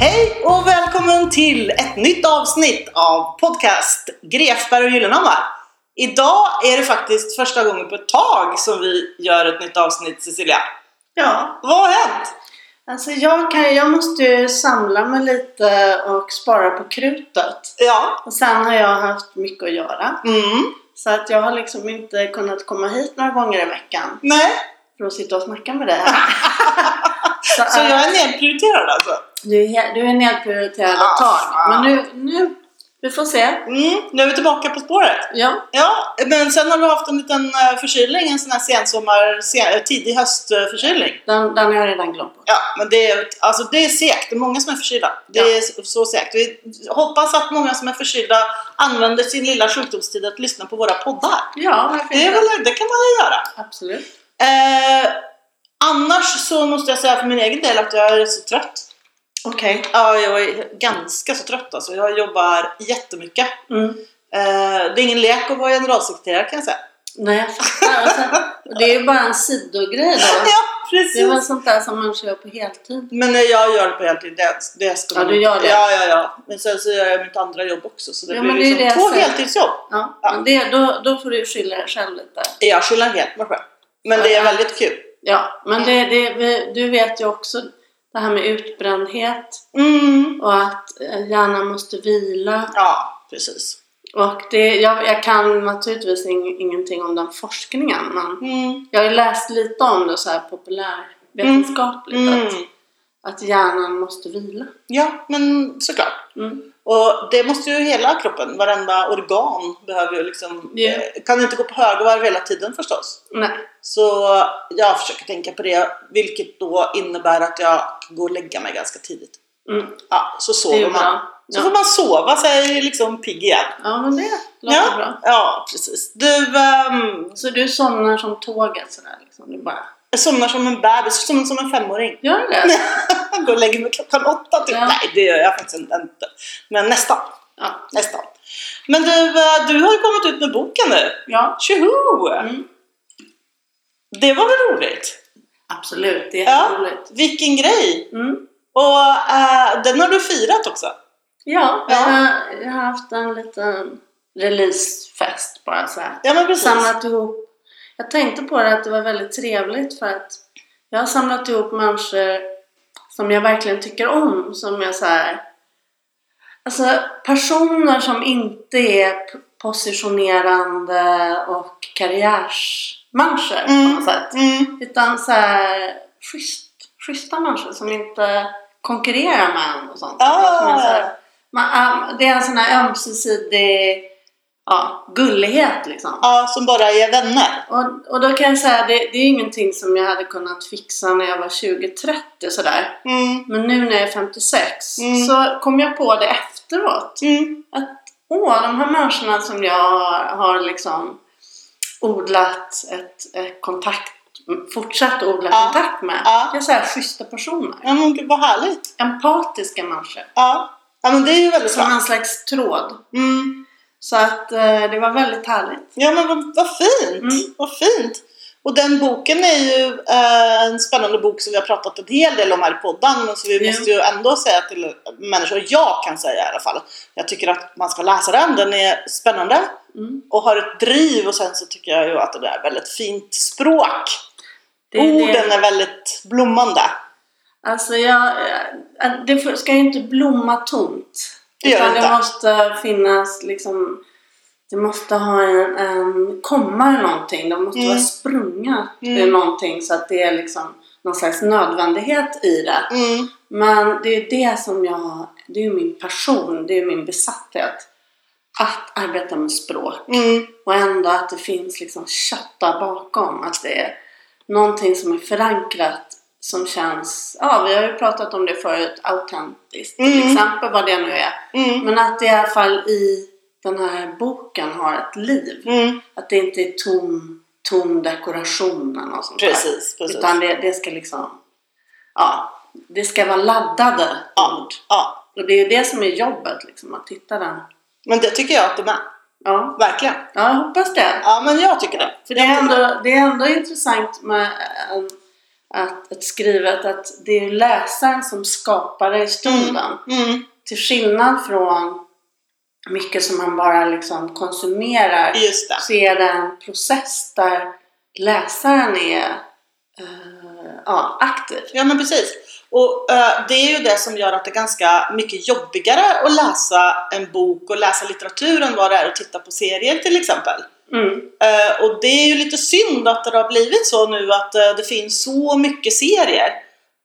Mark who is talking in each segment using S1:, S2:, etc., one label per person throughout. S1: Hej och välkommen till ett nytt avsnitt av podcast Grefberg och Gyllenhammar. Idag är det faktiskt första gången på ett tag som vi gör ett nytt avsnitt Cecilia.
S2: Ja,
S1: Vad har hänt?
S2: alltså jag, kan, jag måste ju samla mig lite och spara på krutet.
S1: Ja.
S2: Och sen har jag haft mycket att göra.
S1: Mm.
S2: Så att jag har liksom inte kunnat komma hit några gånger i veckan
S1: Nej.
S2: för att sitta och snacka med dig här. så
S1: Så
S2: att
S1: jag är nedprioriterad alltså.
S2: du, är, he- du är nedprioriterad
S1: Ah,
S2: ett tag.
S1: fan.
S2: Men nu, nu, vi får se.
S1: Mm. Nu är vi tillbaka på spåret.
S2: Ja,
S1: Ja, men sen har du haft en liten eh, förkylning, en sån här sensommar, sen, eh, tidig höstförkylning.
S2: den, den har jag redan glömt bort.
S1: Ja, men det är, alltså det är segt. Det är många som är förkylda. Det
S2: Ja.
S1: är så- så segt. Vi hoppas att många som är förkylda använder sin lilla sjukdomstid att lyssna på våra poddar.
S2: Ja, varför
S1: Det, är
S2: inte?
S1: väl, det kan man ju göra.
S2: Absolut.
S1: Eh, annars så måste jag säga för min egen del att jag är så trött.
S2: Okej.
S1: Ja, jag är ganska så trött alltså. Jag jobbar jättemycket.
S2: Mm.
S1: Eh, det är ingen lek att vara generalsekreterare kan jag säga.
S2: Nej, jag fattar. Och sen- och Det är ju bara en sidogrej då.
S1: Ja,
S2: Det är
S1: precis.
S2: väl sånt där som man kör på heltid.
S1: Men när jag gör det på heltid, det, det ska
S2: Ja,
S1: man
S2: du
S1: inte-
S2: gör det.
S1: Ja, ja, ja. Men sen så gör jag mitt andra jobb också. Så det
S2: Ja,
S1: blir
S2: men det är
S1: liksom
S2: ju det jag
S1: två
S2: säger.
S1: heltidsjobb.
S2: Ja,
S1: Ja.
S2: Men det, då, då får du skylla dig själv lite.
S1: Jag skyller helt mig själv. Men det är väldigt kul.
S2: Ja, men det, det, vi- du vet ju också det här med utbrändhet
S1: Mm.
S2: och att eh, hjärnan måste vila.
S1: Ja, precis.
S2: Och det, jag, jag kan naturligtvis ing, ingenting om den forskningen men
S1: Mm.
S2: jag har ju läst lite om det så här populärvetenskapligt
S1: Mm.
S2: att, att hjärnan måste vila.
S1: Ja, men såklart.
S2: Mm.
S1: Och det måste ju hela kroppen, varenda organ behöver ju liksom...
S2: Ja.
S1: eh, Kan inte gå på högvarv hela tiden förstås.
S2: Nej.
S1: Så jag försöker tänka på det, vilket då innebär att jag går och lägga mig ganska tidigt.
S2: Mm.
S1: Ja, så
S2: Det är
S1: sover
S2: ju
S1: man.
S2: bra.
S1: Så får
S2: Ja.
S1: man sova sig liksom pigg igen.
S2: ja, men det låter
S1: Ja.
S2: bra.
S1: Ja, precis. Du ehm,
S2: Så du somnar som tåget sådär liksom? Du bara,
S1: somnar som en bebis, som, som en femåring.
S2: gör du det?
S1: Jag går och lägger mig klockan åtta typ.
S2: Ja.
S1: Nej, det gör jag faktiskt inte. Men nästan.
S2: Ja.
S1: nästan. Men du, eh, du har ju kommit ut med boken nu.
S2: ja.
S1: Tjoho!
S2: Mm.
S1: Det var väl roligt?
S2: Absolut, det är
S1: Ja.
S2: jätteroligt.
S1: Vilken grej!
S2: Mm.
S1: Och eh, den har du firat också.
S2: Ja,
S1: Ja.
S2: Jag, har, jag har haft en liten releasefest bara så här.
S1: Ja, men precis.
S2: Samlat ihop. Jag tänkte på det att det var väldigt trevligt för att jag har samlat ihop människor som jag verkligen tycker om. Som jag så här, Alltså personer som inte är p- positionerande och karriärsmänniskor på
S1: Mm.
S2: något sätt.
S1: Mm.
S2: Utan så här schysst, schyssta människor som inte konkurrerar med en och sånt.
S1: Ah.
S2: Som är så här, man, ähm, det är en sån här ömsesidig ja, gullighet liksom.
S1: Ja, som bara är vänner.
S2: Och, och då kan jag säga, det, det är ingenting som jag hade kunnat fixa när jag var 20-30 sådär.
S1: Mm.
S2: Men nu när jag är 56
S1: Mm.
S2: så kom jag på det efteråt.
S1: Mm.
S2: Åh, de här människorna som jag har liksom odlat ett, ett kontakt, fortsatt odla
S1: Ja.
S2: kontakt med.
S1: Ja.
S2: Det är så här schyssta personer.
S1: Ja, men gud vad härligt.
S2: Empatiska människor.
S1: Ja. ja, men det är ju väldigt
S2: Som
S1: bra.
S2: en slags tråd.
S1: Mm.
S2: Så att eh, det var väldigt härligt.
S1: Ja, men vad, vad fint!
S2: Mm.
S1: Vad fint! Och den boken är ju eh, en spännande bok som vi har pratat en hel del om här i podden. men Så vi
S2: Ja.
S1: måste ju ändå säga till människor, jag kan säga i alla fall, jag tycker att man ska läsa den. Den är spännande
S2: Mm.
S1: och har ett driv och sen så tycker jag ju att det är väldigt fint språk.
S2: Det är
S1: Orden
S2: det.
S1: är väldigt blommande.
S2: Alltså jag, eh, det får- ska ju inte blomma tomt.
S1: Det gör det
S2: Utan det
S1: inte.
S2: måste finnas liksom, det måste ha en, en komma eller någonting. De måste
S1: Mm.
S2: vara sprungna
S1: Mm.
S2: ur någonting så att det är liksom någon slags nödvändighet i det.
S1: Mm.
S2: Men det är ju det som jag, det är ju min passion, det är ju min besatthet. Att arbeta med språk.
S1: Mm.
S2: Och ändå att det finns liksom kött där bakom. Att det är någonting som är förankrat som känns, ja vi har ju pratat om det förut, autentiskt.
S1: Mm.
S2: Till exempel vad det nu är.
S1: Mm.
S2: Men att det i alla fall i den här boken har ett liv.
S1: Mm.
S2: Att det inte är tom, tom dekoration eller något sånt där.
S1: Precis, precis.
S2: Utan det, det ska liksom, ja, det ska vara laddade
S1: Ja.
S2: ord.
S1: Ja.
S2: Och det är ju det som är jobbet liksom, att hitta den.
S1: Men det tycker jag att de är.
S2: Ja,
S1: Verkligen.
S2: ja jag hoppas det.
S1: Ja, men jag tycker det.
S2: För det är, ändå, det är ändå intressant med en, att, att skrivet att det är ju läsaren som skapar det i stunden.
S1: Mm.
S2: Till skillnad från mycket som man bara liksom konsumerar
S1: Just det.
S2: så är det en process där läsaren är eh, ja, aktiv.
S1: Ja men precis. Och eh, det är ju det som gör att det är ganska mycket jobbigare att läsa en bok och läsa litteratur än vad det är att titta på serier till exempel.
S2: Mm.
S1: Eh, och det är ju lite synd att det har blivit så nu att eh, det finns så mycket serier.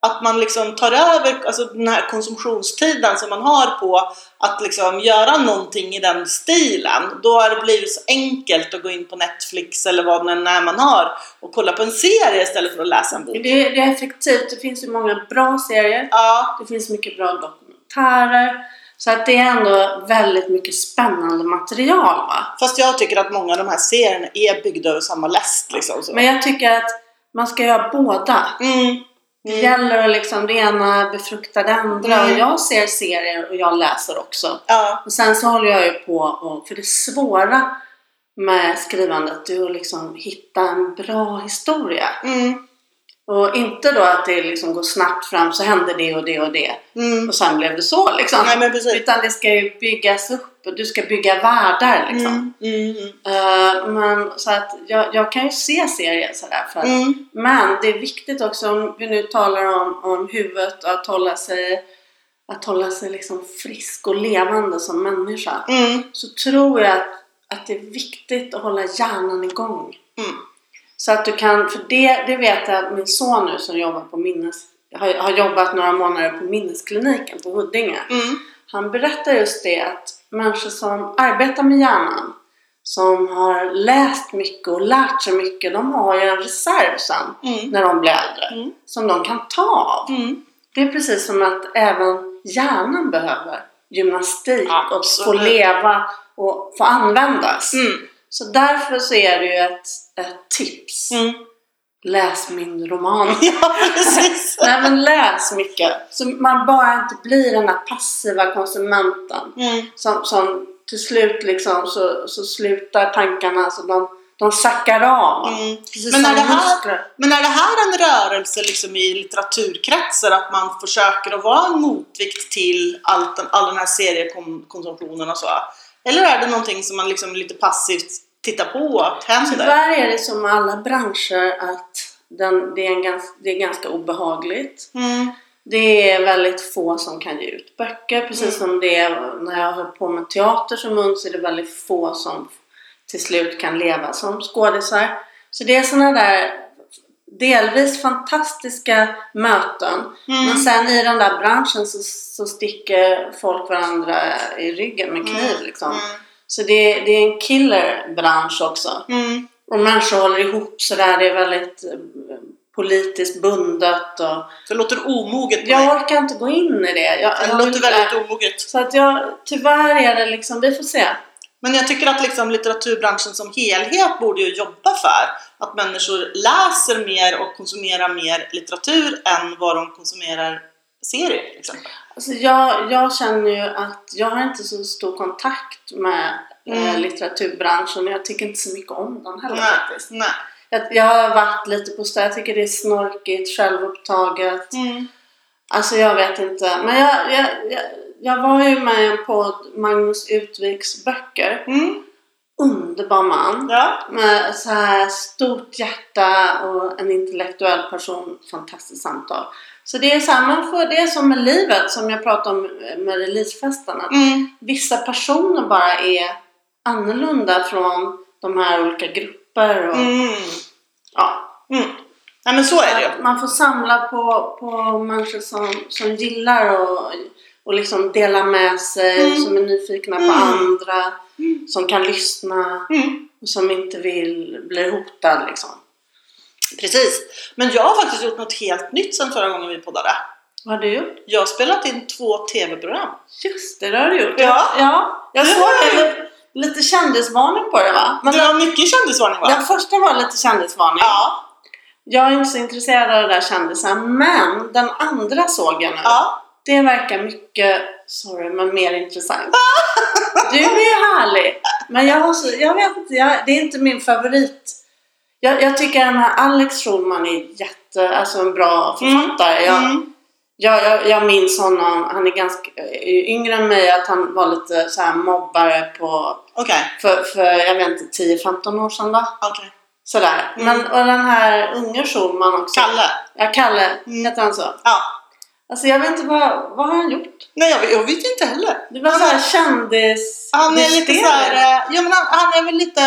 S1: Att man liksom tar över alltså den här konsumtionstiden som man har på att liksom göra någonting i den stilen. Då har det blivit så enkelt att gå in på Netflix eller vad det är man har och kolla på en serie istället för att läsa en bok.
S2: Det, är- det är effektivt. Det finns ju många bra serier.
S1: Ja,
S2: Det finns mycket bra dokumentärer. Så att det är ändå väldigt mycket spännande material. Va?
S1: fast jag tycker att många av de här serierna är byggda över samma läst liksom. Så.
S2: Men jag tycker att man ska göra båda.
S1: Mm.
S2: Det gäller att liksom det ena befrukta det andra.
S1: Mm.
S2: Och jag ser serier och jag läser också.
S1: Ja,
S2: Och sen så håller jag ju på och, för det svåra med skrivandet det är att liksom hitta en bra historia.
S1: mm.
S2: Och inte då att det liksom går snabbt fram så hände det och det och det.
S1: Mm.
S2: Och sen blev det så liksom.
S1: Nej men precis.
S2: Utan det ska ju byggas upp och du ska bygga världar liksom.
S1: Mm. Mm. Mm.
S2: Eh, men, så att jag, jag kan ju se serier sådär. För att,
S1: Mm.
S2: Men det är viktigt också om vi nu talar om, om huvudet och att hålla sig, att hålla sig liksom frisk och levande som människa.
S1: Mm.
S2: Så tror jag att, att det är viktigt att hålla hjärnan igång.
S1: Mm.
S2: Så att du kan, för det, det vet jag att min son nu som jobbar på minnes, har, har jobbat några månader på minneskliniken på Huddinge.
S1: Mm.
S2: Han berättar just det att människor som arbetar med hjärnan, som har läst mycket och lärt sig mycket, de har ju en reserv sen
S1: Mm.
S2: när de blir äldre
S1: Mm.
S2: som de kan ta av.
S1: Mm.
S2: Det är precis som att även hjärnan behöver gymnastik och få
S1: Absolut.
S2: leva och få användas.
S1: Mm.
S2: Så därför så är det ju ett, ett tips.
S1: Mm.
S2: Läs min roman.
S1: Ja, precis.
S2: Nej men läs mycket. Så man bara inte blir den där passiva konsumenten.
S1: Mm.
S2: Som, som till slut liksom så, så slutar tankarna, så de, de sackar av.
S1: Mm.
S2: Precis
S1: Men
S2: som
S1: är det här-
S2: muskler.
S1: Men är det här en rörelse liksom i litteraturkretsar? Att man försöker att vara en motvikt till allt den, all den här seriekonsumtionen och så? Eller är det någonting som man liksom lite passivt tittar på att händer?
S2: Tyvärr är det som med alla branscher att den, det, är en gans, det är ganska obehagligt.
S1: Mm.
S2: Det är väldigt få som kan ge ut böcker. Precis som det är när jag höll på med teater som ung så är det väldigt få som till slut kan leva som skådisar. Så det är sådana där delvis fantastiska möten.
S1: Mm.
S2: Men sen i den där branschen så, så sticker folk varandra i ryggen
S1: Mm.
S2: med kniv liksom. Så det, det är en killerbransch också.
S1: Mm. Mm.
S2: Och människor håller ihop sådär, det är väldigt eh, politiskt bundet och...
S1: Det låter omoget på mig.
S2: Jag orkar inte gå in i det. Jag,
S1: Det
S2: jag
S1: låter
S2: vill-
S1: väldigt omoget.
S2: Så att jag, tyvärr är det liksom, vi får se.
S1: Men jag tycker att liksom litteraturbranschen som helhet borde ju jobba för att människor läser mer och konsumerar mer litteratur än vad de konsumerar serier. till exempel.
S2: Alltså jag, jag känner ju att jag har inte så stor kontakt med eh,
S1: Mm.
S2: litteraturbranschen och jag tycker inte så mycket om den heller
S1: Nej.
S2: faktiskt.
S1: Nej.
S2: Jag, jag har varit lite på stö, jag tycker det är snorkigt, självupptaget.
S1: Mm.
S2: Alltså jag vet inte. Men jag, jag, jag, jag var ju med i en podd, Magnus Utviks böcker.
S1: Mm.
S2: Underbar man.
S1: Ja.
S2: Med så här stort hjärta och en intellektuell person. Fantastiskt samtal. Så det är så här, man får, det är som med livet som jag pratade om med releasefesten. Att
S1: Mm.
S2: vissa personer bara är annorlunda från de här olika grupper. Och,
S1: Mm.
S2: ja,
S1: Mm. Nej men så är det ju.
S2: att man får samla på, på människor som, som gillar och, och liksom dela med sig,
S1: Mm.
S2: som är nyfikna på
S1: Mm.
S2: andra,
S1: Mm.
S2: som kan lyssna
S1: Mm.
S2: och som inte vill bli hotad liksom.
S1: Precis. Men jag har faktiskt gjort något helt nytt sedan förra gången vi poddade.
S2: Vad har du gjort?
S1: Jag har spelat in två tv-program.
S2: Just det, det har du gjort.
S1: Ja.
S2: ja. Jag
S1: Det
S2: såg
S1: har jag
S2: det. Lite- Lite kändisvarning på det va? Men
S1: Men det var mycket kändisvarning va?
S2: den första var lite kändisvarning.
S1: Ja.
S2: Jag är inte så intresserad av det där kändisar, men den andra såg jag nu.
S1: ja.
S2: Det verkar mycket, sorry, men mer intressant. Du är härlig! Men jag, har så, jag vet inte, jag, det är inte min favorit. Jag, jag tycker den här Alex Schulman är jätte, alltså en bra
S1: Mm.
S2: författare. Jag,
S1: Mm.
S2: jag, jag, jag minns honom, han är ganska är ju yngre än mig, att han var lite så här mobbare på,
S1: Okej,
S2: för, för jag vet inte, 10-15 år sedan då.
S1: okej.
S2: Sådär.
S1: Mm.
S2: Men, och den här unge Schulman också.
S1: Kalle?
S2: Ja, Kalle
S1: Mm.
S2: hette han så.
S1: Ja.
S2: Alltså jag vet inte, vad, vad har han gjort?
S1: Nej, jag, jag vet inte heller.
S2: Det var
S1: Han-
S2: såhär kändis...
S1: Han är lite
S2: hysterier.
S1: så här, eh, ja, men han, han är väl lite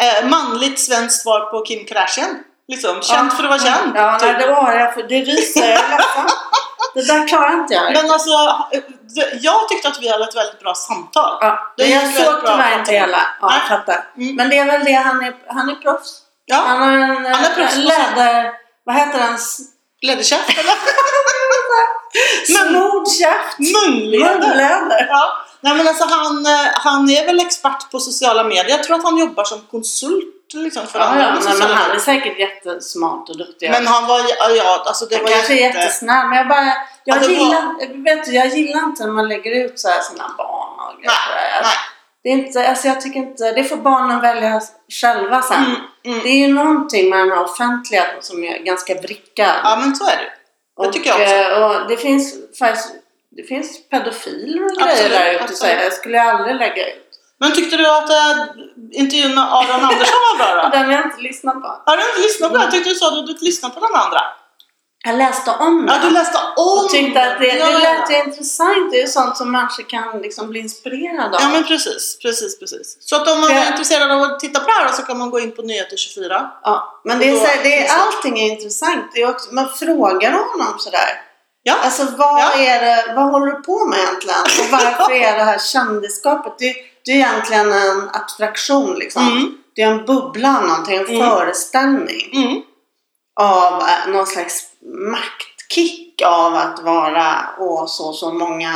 S1: eh, manligt svenskt svar på Kim Kardashian. Liksom, känd för att vara känd.
S2: Mm. Ja,
S1: typ.
S2: nej, det var jag. För det ryser. Jag är ledsen. Det där klarar inte jag.
S1: Men alltså, eh, jag tyckte att vi hade ett väldigt bra samtal.
S2: ja,
S1: det
S2: men jag
S1: gick väldigt
S2: såg
S1: bra.
S2: tyvärr inte hela. Ja,
S1: Nej.
S2: jag fattar.
S1: Mm.
S2: Men det är väl det han är. Han är proffs.
S1: Ja,
S2: Han har en
S1: Han är
S2: eh,
S1: proffs.
S2: läder... Vad heter den? S-
S1: läderkäft eller? Men-
S2: Smord käft.
S1: Munläder!
S2: Munläder.
S1: Ja. Nej men alltså han, eh, han är väl expert på sociala medier. Jag tror att han jobbar som konsult liksom, för
S2: Ja,
S1: andra
S2: ja,
S1: på
S2: nej, men
S1: sociala
S2: han
S1: medier.
S2: är säkert jättesmart och duktig.
S1: Men han var, ja, ja alltså det
S2: han
S1: var
S2: kanske är jättesnäll. Men jag bara... Jag,
S1: Ja, det var-
S2: gillar, vet du, jag gillar inte när man lägger ut så här sina barn och
S1: Nej,
S2: grejer.
S1: nej.
S2: Det är inte, alltså jag tycker inte, det får barnen välja själva sen.
S1: Mm, mm.
S2: Det är ju någonting med den här offentliga som är ganska vrickad.
S1: Ja men så är det det tycker jag
S2: och,
S1: också.
S2: eh, och det finns faktiskt det finns pedofiler och grejer
S1: Absolut,
S2: där ute.
S1: absolut.
S2: så Jag skulle jag aldrig lägga ut.
S1: Men tyckte du att äh, intervjun med Aron Andersson var bra då?
S2: Den har jag inte lyssnat på.
S1: Har du inte lyssnat på den? Jag tyckte du sa att du inte lyssnat på den andra.
S2: Jag läste om
S1: Ja, du
S2: den
S1: läste om
S2: och tyckte att det,
S1: Ja,
S2: det lät ju intressant. Det är ju sånt som människor kan liksom bli inspirerade av.
S1: Ja men precis, precis, precis. Så att om man
S2: För jag-
S1: är intresserad av att titta på det här så kan man gå in på Nyheter 24.
S2: Ja, men det är,
S1: Då
S2: så här, det
S1: finns
S2: är,
S1: det.
S2: allting är intressant. Det är också, man frågar honom sådär.
S1: Ja.
S2: Alltså vad,
S1: Ja.
S2: är det, vad håller du på med egentligen? Och varför är det här kändisskapet? Det, det är egentligen en abstraktion liksom.
S1: Mm.
S2: Det är en bubbla av någonting, en
S1: Mm.
S2: föreställning
S1: Mm.
S2: av eh, någon slags maktkick av att vara åh, så så många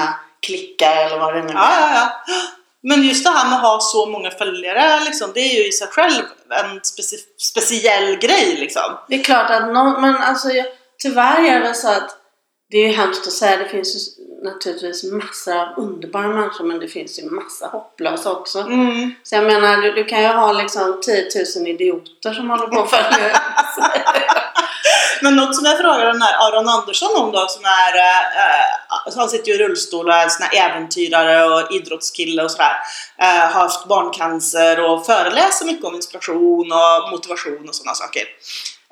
S2: klickar eller vad det nu är.
S1: Ja, ja, ja. Men just det här med att ha så många följare, liksom, det är ju i sig själv en speci- speciell grej. Liksom.
S2: Det är klart att någon, men alltså jag, tyvärr är det väl så att det är ju hemskt att säga, det finns ju s- naturligtvis massor av underbara människor men det finns ju massa hopplösa också.
S1: Mm.
S2: Så jag menar, du, du kan ju ha liksom 10 000 idioter som håller på och följer
S1: Men något som jag frågade den här Aron Andersson om då, som är, eh, alltså han sitter ju i rullstol och är en sån här äventyrare och idrottskille och sådär. Eh, har haft barncancer och föreläser mycket om inspiration och motivation och sådana saker.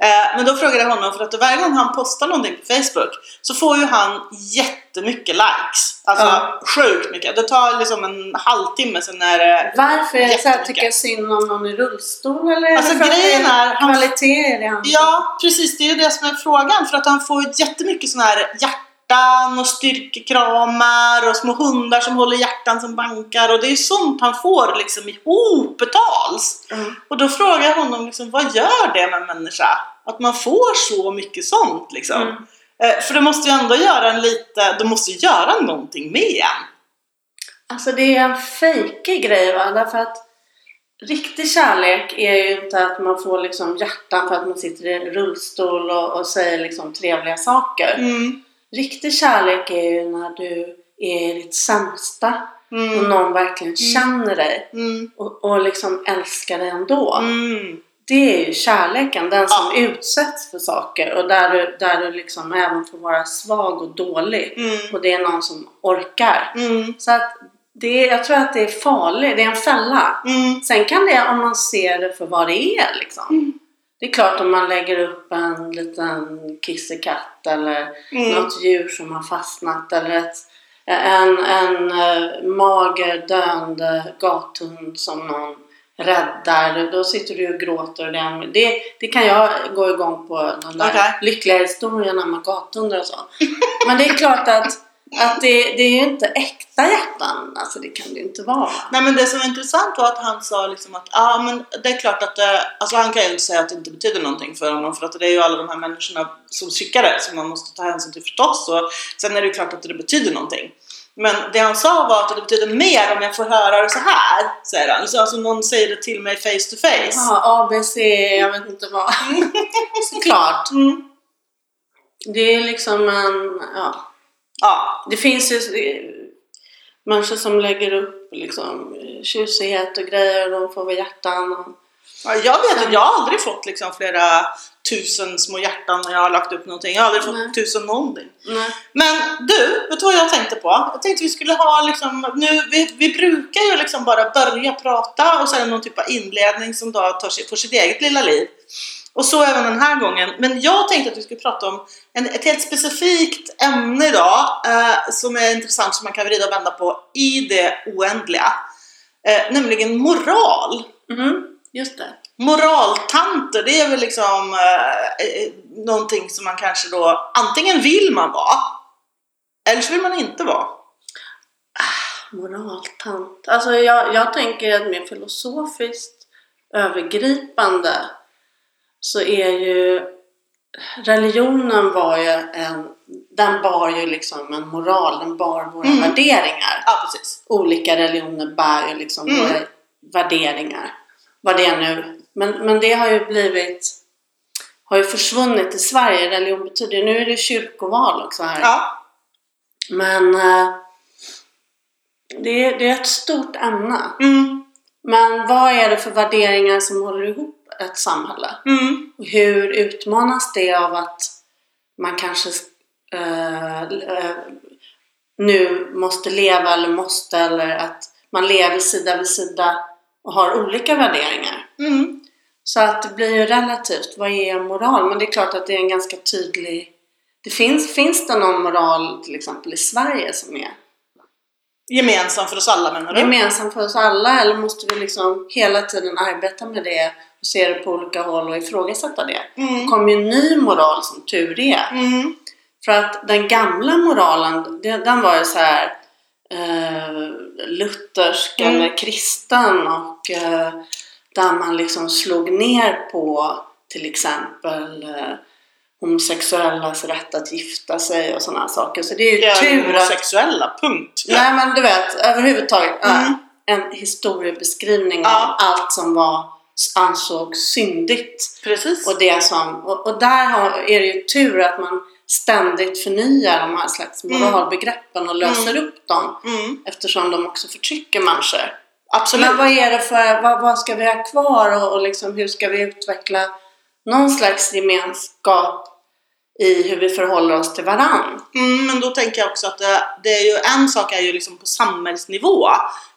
S1: Eh, men då frågade jag honom, för att varje gång han postar någonting på Facebook så får ju han jättemycket likes. Alltså
S2: Ja.
S1: sjukt mycket. Det tar liksom en halvtimme sen är det
S2: Varför är det så här,
S1: Jättemycket.
S2: tycker jag synd om någon i rullstol eller? är det
S1: Alltså,
S2: för att det
S1: grejen är- han-
S2: Kvalitet i det han...
S1: Ja, precis. Det är ju det som är frågan. För att han får ju jättemycket sådana här hjärtan och styrkekramar och små hundar som håller hjärtan som bankar. Och det är ju sånt han får liksom ihopbetals.
S2: Mm.
S1: Och då frågar jag honom liksom, vad gör det med en människa? Att man får så mycket sånt liksom.
S2: Mm.
S1: Eh, För det måste ju ändå göra en lite, det måste ju göra någonting med en.
S2: Alltså det är en fejkig grej va? Därför att riktig kärlek är ju inte att man får liksom hjärtan för att man sitter i rullstol och, och säger liksom trevliga saker.
S1: Mm.
S2: Riktig kärlek är ju när du är i ditt sämsta och
S1: Mm.
S2: någon verkligen känner dig
S1: Mm.
S2: och, och liksom älskar dig ändå.
S1: Mm.
S2: Det är ju kärleken, den som
S1: Ja.
S2: utsätts för saker och där du, där du liksom även får vara svag och dålig.
S1: Mm.
S2: Och det är någon som orkar.
S1: Mm.
S2: Så att det, är- jag tror att det är farligt, det är en fälla.
S1: Mm.
S2: Sen kan det, om man ser det för vad det är liksom.
S1: Mm.
S2: Det är klart om man lägger upp en liten kissekatt eller
S1: Mm.
S2: något djur som har fastnat eller ett, en, en eh, mager döende gathund som någon räddar. Då sitter du och gråter. Och det, är en- det, det kan jag gå igång på, de där
S1: Okej.
S2: lyckliga historierna med gathundar och så. Men det är klart att, att det, det är ju inte äkta hjärtan. Alltså det kan det ju inte vara.
S1: Nej men det som var intressant var att han sa liksom att ja men det är klart att eh, alltså han kan ju inte säga att det inte betyder någonting för honom för att det är ju alla de här människorna som tycker det som man måste ta hänsyn till förstås och sen är det ju klart att det betyder någonting. Men det han sa var att det betyder mer om jag får höra det så här, säger han. Så alltså någon säger det till mig face to face.
S2: Ja, ABC, jag vet inte vad. Såklart.
S1: Mm.
S2: Det är liksom en... Ja.
S1: Ja,
S2: Det finns ju eh, människor som lägger upp liksom, eh, tjusighet och grejer. De får väl hjärtan. Och...
S1: Ja, jag vet att jag har aldrig fått liksom flera tusen små hjärtan när jag har lagt upp någonting. Jag har aldrig fått
S2: Nej.
S1: tusen någonting.
S2: Nej.
S1: Men du, vet du vad jag tänkte på? Jag tänkte vi skulle ha liksom, nu, vi, vi brukar ju liksom bara börja prata och sen någon typ av inledning som då tar sig, får sitt eget lilla liv. Och så även den här gången. Men jag tänkte att vi skulle prata om en, ett helt specifikt ämne idag eh, som är intressant som man kan vrida och vända på i det oändliga. Eh, nämligen moral.
S2: Mhm, Just det.
S1: Moraltanter, det är väl liksom eh, eh, någonting som man kanske då antingen vill man vara eller så vill man inte vara.
S2: Moraltant. Alltså jag, jag tänker att mer filosofiskt övergripande så är ju religionen var ju en, den bar ju liksom en moral, den bar våra
S1: Mm.
S2: värderingar.
S1: Ja, precis.
S2: Olika religioner bär ju liksom
S1: Mm.
S2: våra värderingar. Vad det är nu. Men, men det har ju blivit, har ju försvunnit i Sverige. Religion betyder ju, nu är det kyrkoval också här.
S1: Ja,
S2: Men eh, det, är, det är ett stort ämne.
S1: mm,
S2: Men vad är det för värderingar som håller ihop ett samhälle?
S1: mm,
S2: Och Hur utmanas det av att man kanske eh, eh, nu måste leva eller måste eller att man lever sida vid sida och har olika värderingar?
S1: mm.
S2: Så att det blir ju relativt. Vad är moral? Men det är klart att det är en ganska tydlig... Det finns, finns det någon moral till exempel i Sverige som är
S1: Gemensam för oss alla menar du?
S2: gemensam för oss alla eller måste vi liksom hela tiden arbeta med det och se det på olika håll och ifrågasätta det? Det
S1: Mm,
S2: kommer ju en ny moral som tur är.
S1: mm,
S2: För att den gamla moralen, det- den var ju så här eh, luthersk
S1: Mm.
S2: eller kristen och eh, där man liksom slog ner på till exempel eh, homosexuellas rätt att gifta sig och sådana saker. Så det är ju
S1: det är
S2: tur att
S1: homosexuella, punkt.
S2: Nej men du vet, överhuvudtaget
S1: Mm.
S2: äh, en historiebeskrivning av
S1: Ja.
S2: allt som var ansågs syndigt.
S1: Precis.
S2: Och, det som, och, och där har, är det ju tur att man ständigt förnyar de här slags
S1: Mm.
S2: moralbegreppen och löser upp dem
S1: Mm,
S2: eftersom de också förtrycker människor.
S1: absolut.
S2: Men vad är det för, vad, vad ska vi ha kvar och, och liksom, hur ska vi utveckla någon slags gemenskap i hur vi förhåller oss till varandra?
S1: Mm, men då tänker jag också att det, det är ju, en sak är ju liksom på samhällsnivå.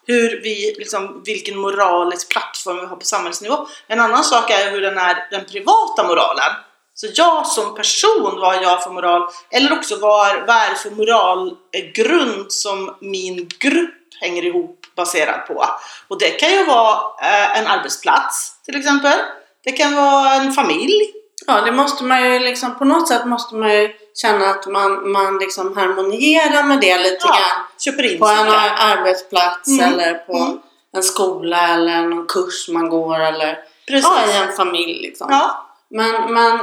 S1: Hur vi, liksom, vilken moralisk plattform vi har på samhällsnivå. En annan sak är ju hur den är den privata moralen. Så jag som person, vad har jag för moral? Eller också vad är, vad är det för moralgrund som min grupp hänger ihop baserad på? Och det kan ju vara eh, en arbetsplats till exempel. Det kan vara en familj.
S2: Ja, det måste man ju liksom, på något sätt måste man ju känna att man, man liksom harmonierar med det lite
S1: Ja,
S2: grann.
S1: köper in
S2: På
S1: sig
S2: en
S1: där.
S2: ar- arbetsplats
S1: Mm,
S2: eller på
S1: mm.
S2: en skola eller någon kurs man går eller
S1: Precis.
S2: ja, i en familj liksom.
S1: Ja.
S2: Men, men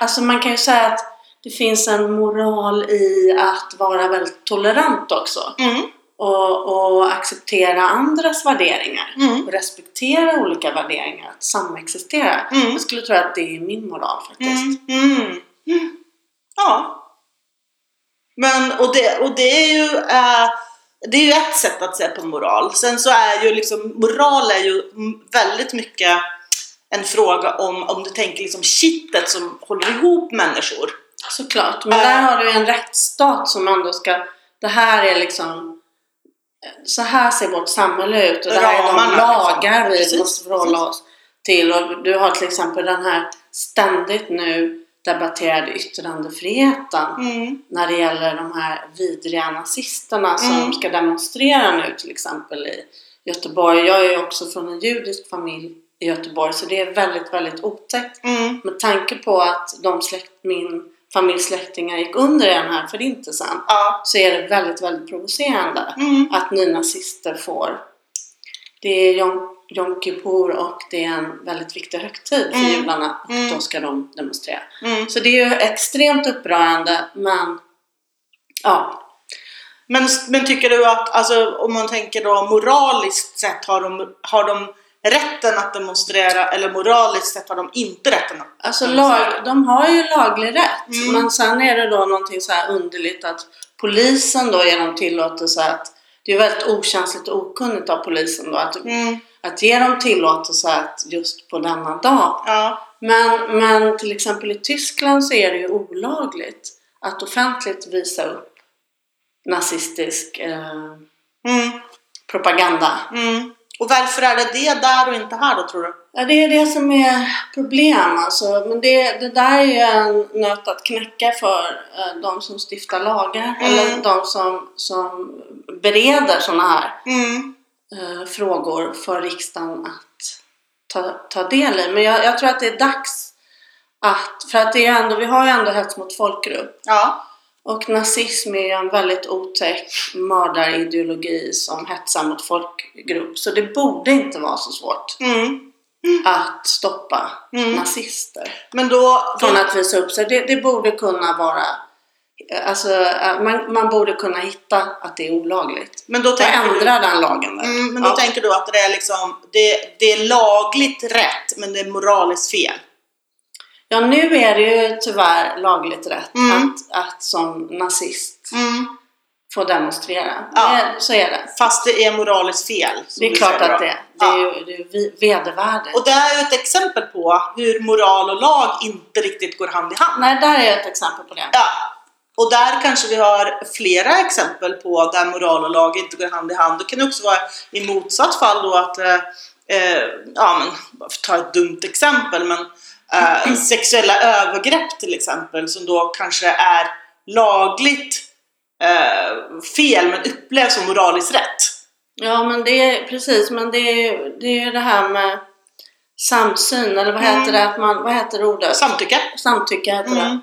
S2: alltså man kan ju säga att det finns en moral i att vara väldigt tolerant också.
S1: Mm,
S2: Och, och acceptera andras värderingar.
S1: mm,
S2: Och respektera olika värderingar. Att samexistera.
S1: mm.
S2: Jag skulle tro att det är min moral faktiskt.
S1: Mm, mm, mm. Ja. Men, och det, och det är ju... Eh, det är ju ett sätt att se på moral. Sen så är ju liksom, moral är ju mm, väldigt mycket en fråga om, om du tänker liksom kittet som håller ihop människor.
S2: Såklart, men där har du en rättsstat som ändå ska... Det här är liksom... Så här ser vårt samhälle ut och det här är de
S1: Ramarna,
S2: lagar vi
S1: liksom. Precis,
S2: måste förhålla oss till. Och du har till exempel den här ständigt nu debatterade yttrandefriheten
S1: Mm,
S2: när det gäller de här vidriga nazisterna som
S1: Mm.
S2: ska demonstrera nu till exempel i Göteborg. Jag är ju också från en judisk familj i Göteborg så det är väldigt, väldigt otäckt
S1: mm,
S2: med tanke på att de släkt, min familjs släktingar gick under i den här förintelsen
S1: ja.
S2: så är det väldigt, väldigt provocerande
S1: Mm,
S2: att nynazister får. Det är Jom, Jom Kippur och det är en väldigt viktig högtid för
S1: Mm.
S2: judarna och
S1: Mm.
S2: då ska de demonstrera.
S1: mm.
S2: Så det är ju extremt upprörande men ja,
S1: Men, men tycker du att, alltså, om man tänker då moraliskt sett, har de, har de rätten att demonstrera eller moraliskt sett har de inte rätten att
S2: alltså
S1: Mm,
S2: lag, de har ju laglig rätt
S1: Mm.
S2: men sen är det då någonting så här underligt att polisen då ger dem tillåtelse att det är väldigt okänsligt och okunnigt av polisen då att
S1: Mm,
S2: att ge dem tillåtelse att just på denna dag.
S1: Ja.
S2: Men, men till exempel i Tyskland så är det ju olagligt att offentligt visa upp nazistisk eh,
S1: Mm.
S2: propaganda.
S1: Mm. Och varför är det det där och inte här då tror du?
S2: Ja, det är det som är problem alltså. Men det, det där är ju en nöt att knäcka för eh, de som stiftar lagar
S1: Mm.
S2: eller de som, som bereder sådana här
S1: Mm.
S2: eh, frågor för riksdagen att ta, ta del i. Men jag, jag tror att det är dags att, för att det är ju ändå, vi har ju ändå hets mot folkgrupp
S1: Ja.
S2: och nazism är ju en väldigt otäck mördarideologi som hetsar mot folkgrupp. Så det borde inte vara så svårt
S1: Mm.
S2: att stoppa
S1: Mm.
S2: nazister
S1: Men då...
S2: från att visa upp sig. Det, det borde kunna vara, alltså eh, man, man borde kunna hitta att det är olagligt.
S1: men då
S2: Och
S1: tänker du...
S2: ändra den lagen där.
S1: Mm, men då
S2: Ja.
S1: tänker du att det är liksom... Det, det är lagligt rätt men det är moraliskt fel.
S2: Ja, nu är det ju tyvärr lagligt rätt
S1: Mm.
S2: att, att som nazist
S1: Mm.
S2: få demonstrera.
S1: Ja.
S2: Det, så är det.
S1: Fast det är moraliskt fel. som
S2: Det är
S1: du
S2: klart
S1: säger då.
S2: att det, det är ju det är ju vi- vedervärdigt.
S1: Och det är ju ett exempel på hur moral och lag inte riktigt går hand i hand.
S2: Nej, där är ett exempel på det.
S1: Ja. Och där kanske vi har flera exempel på där moral och lag inte går hand i hand. Det kan ju också vara i motsatt fall då att, eh, eh, ja men, bara för att ta ett dumt exempel, men eh, sexuella övergrepp till exempel som då kanske är lagligt eh, fel men upplevs som moraliskt rätt.
S2: Ja, men det är precis, men det är ju det, är ju det här med samsyn, eller vad
S1: Mm.
S2: heter det? Att man, vad heter ordet?
S1: Samtycke.
S2: Samtycke heter
S1: Mm.
S2: det.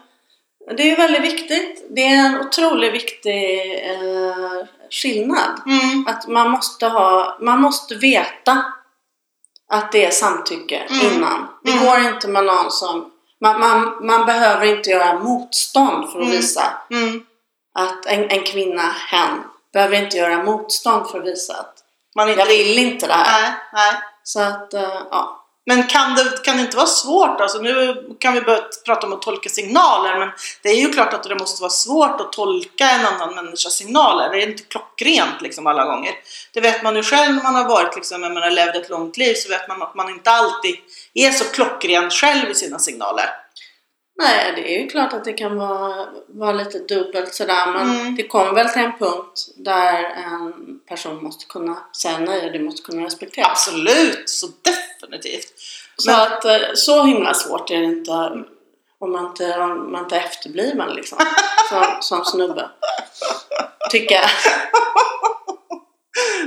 S2: Det är ju väldigt viktigt. Det är en otroligt viktig eh, skillnad.
S1: Mm.
S2: Att man måste, ha, man måste veta att det är samtycke
S1: Mm.
S2: innan. Det
S1: Mm.
S2: går inte med någon som... Man, man, man behöver inte göra motstånd för att
S1: Mm.
S2: visa
S1: Mm.
S2: att en, en kvinna, hen, behöver inte göra motstånd för att visa att
S1: Man är inte...
S2: jag vill inte det här.
S1: Nej, nej.
S2: Så att, eh, ja.
S1: Men kan det, kan det inte vara svårt? Alltså nu kan vi börja prata om att tolka signaler, men det är ju klart att det måste vara svårt att tolka en annan människas signaler. Det är inte klockrent liksom alla gånger. Det vet man ju själv när man har varit liksom, jag menar, levt ett långt liv, så vet man att man inte alltid är så klockren själv i sina signaler.
S2: Nej, det är ju klart att det kan vara, vara lite dubbelt sådär men
S1: Mm.
S2: det kommer väl till en punkt där en person måste kunna säga nej och det måste kunna respekteras.
S1: Absolut, så definitivt.
S2: Så att eh, så himla svårt är det inte om man inte, om man inte är efterbliven liksom. Som, som snubbe. Tycker jag.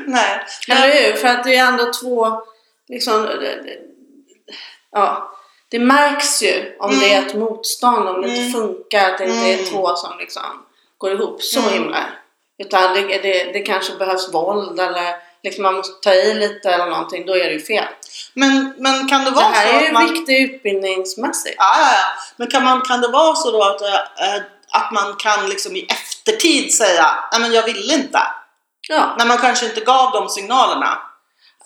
S1: Nej.
S2: Eller hur? För att det är ändå två, liksom, det- det- ja. Det märks ju om det är ett motstånd, om det
S1: Mm.
S2: inte funkar, att det inte är
S1: Mm.
S2: två som liksom går ihop så
S1: Mm.
S2: himla. Utan det, det, det kanske behövs våld eller liksom man måste ta i lite eller någonting, då är det ju fel.
S1: Men, men kan det
S2: Det
S1: vara så
S2: här är
S1: att
S2: ju
S1: man...
S2: viktigt utbildningsmässigt.
S1: Ja, ja, ja. Men kan, man, kan det vara så då att, eh, att man kan liksom i eftertid säga nej men jag ville inte.
S2: Ja.
S1: När man kanske inte gav de signalerna.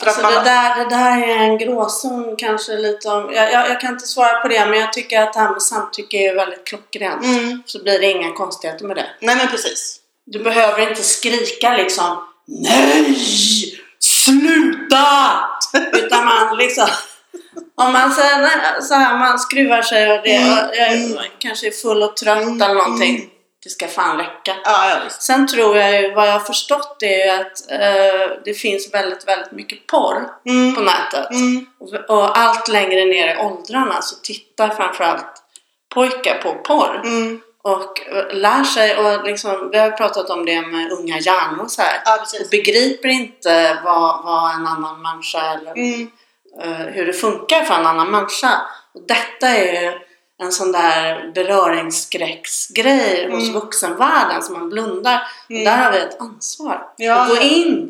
S1: För
S2: Alltså
S1: att
S2: det,
S1: man,
S2: där, det där är en gråzon kanske lite om, jag, jag, jag kan inte svara på det men jag tycker att det här med samtycke är väldigt klockrent.
S1: mm,
S2: Så blir det inga konstigheter med det.
S1: nej men precis.
S2: Du behöver inte skrika liksom NEJ! Sluta! Utan man liksom om man säger nej, så här, man skruvar sig och det,
S1: Mm.
S2: och jag är, kanske är full och trött
S1: Mm.
S2: eller någonting.
S1: Mm.
S2: Det ska fan räcka.
S1: Ja, ja, visst.
S2: Sen tror jag ju, vad jag har förstått det är ju att eh, det finns väldigt, väldigt mycket porr på
S1: Mm,
S2: nätet.
S1: mm,
S2: Och, och allt längre ner i åldrarna så tittar framförallt pojkar på porr
S1: mm,
S2: och eh, lär sig och liksom, vi har pratat om det med unga hjärnor så här.
S1: ja,
S2: Och
S1: precis.
S2: begriper inte vad, vad en annan människa eller
S1: Mm,
S2: eh, hur det funkar för en annan människa. Och detta är ju en sån där beröringsskräcksgrej hos
S1: Mm.
S2: vuxenvärlden som man blundar.
S1: Mm.
S2: Och där har vi ett ansvar.
S1: Ja,
S2: att gå
S1: ja.
S2: in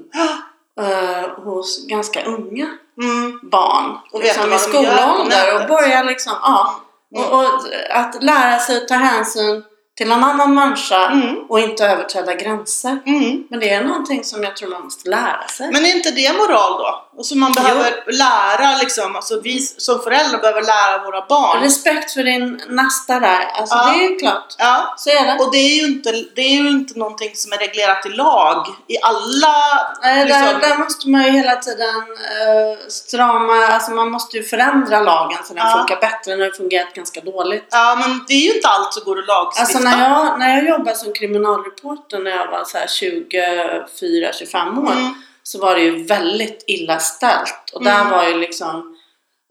S2: eh, hos ganska unga
S1: mm,
S2: barn.
S1: Och
S2: liksom i
S1: veta vad de gör på
S2: skolålder och
S1: nätet.
S2: börja liksom, ja.
S1: Mm.
S2: Och, och att lära sig att ta hänsyn till en annan människa
S1: Mm.
S2: och inte överträda gränser.
S1: mm.
S2: Men det är någonting som jag tror man måste lära sig.
S1: Men är inte det moral då? och så man behöver lära liksom, alltså vi som föräldrar behöver lära våra barn.
S2: Respekt för din nasta där. Alltså
S1: Ja.
S2: det är ju klart.
S1: Ja,
S2: Så är det.
S1: Och det är ju inte, det är ju inte någonting som är reglerat i lag i alla...
S2: Eh,
S1: liksom-
S2: där, där måste man ju hela tiden eh, strama, alltså man måste ju förändra lagen så den
S1: Ja.
S2: funkar bättre. Den har ju fungerat ganska dåligt.
S1: Ja, men det är ju inte allt som går att lagstifta.
S2: Alltså när jag, när jag jobbade som kriminalreporter när jag var så här 24-25 år
S1: Mm.
S2: så var det ju väldigt illa ställt. Och där
S1: Mm.
S2: var ju liksom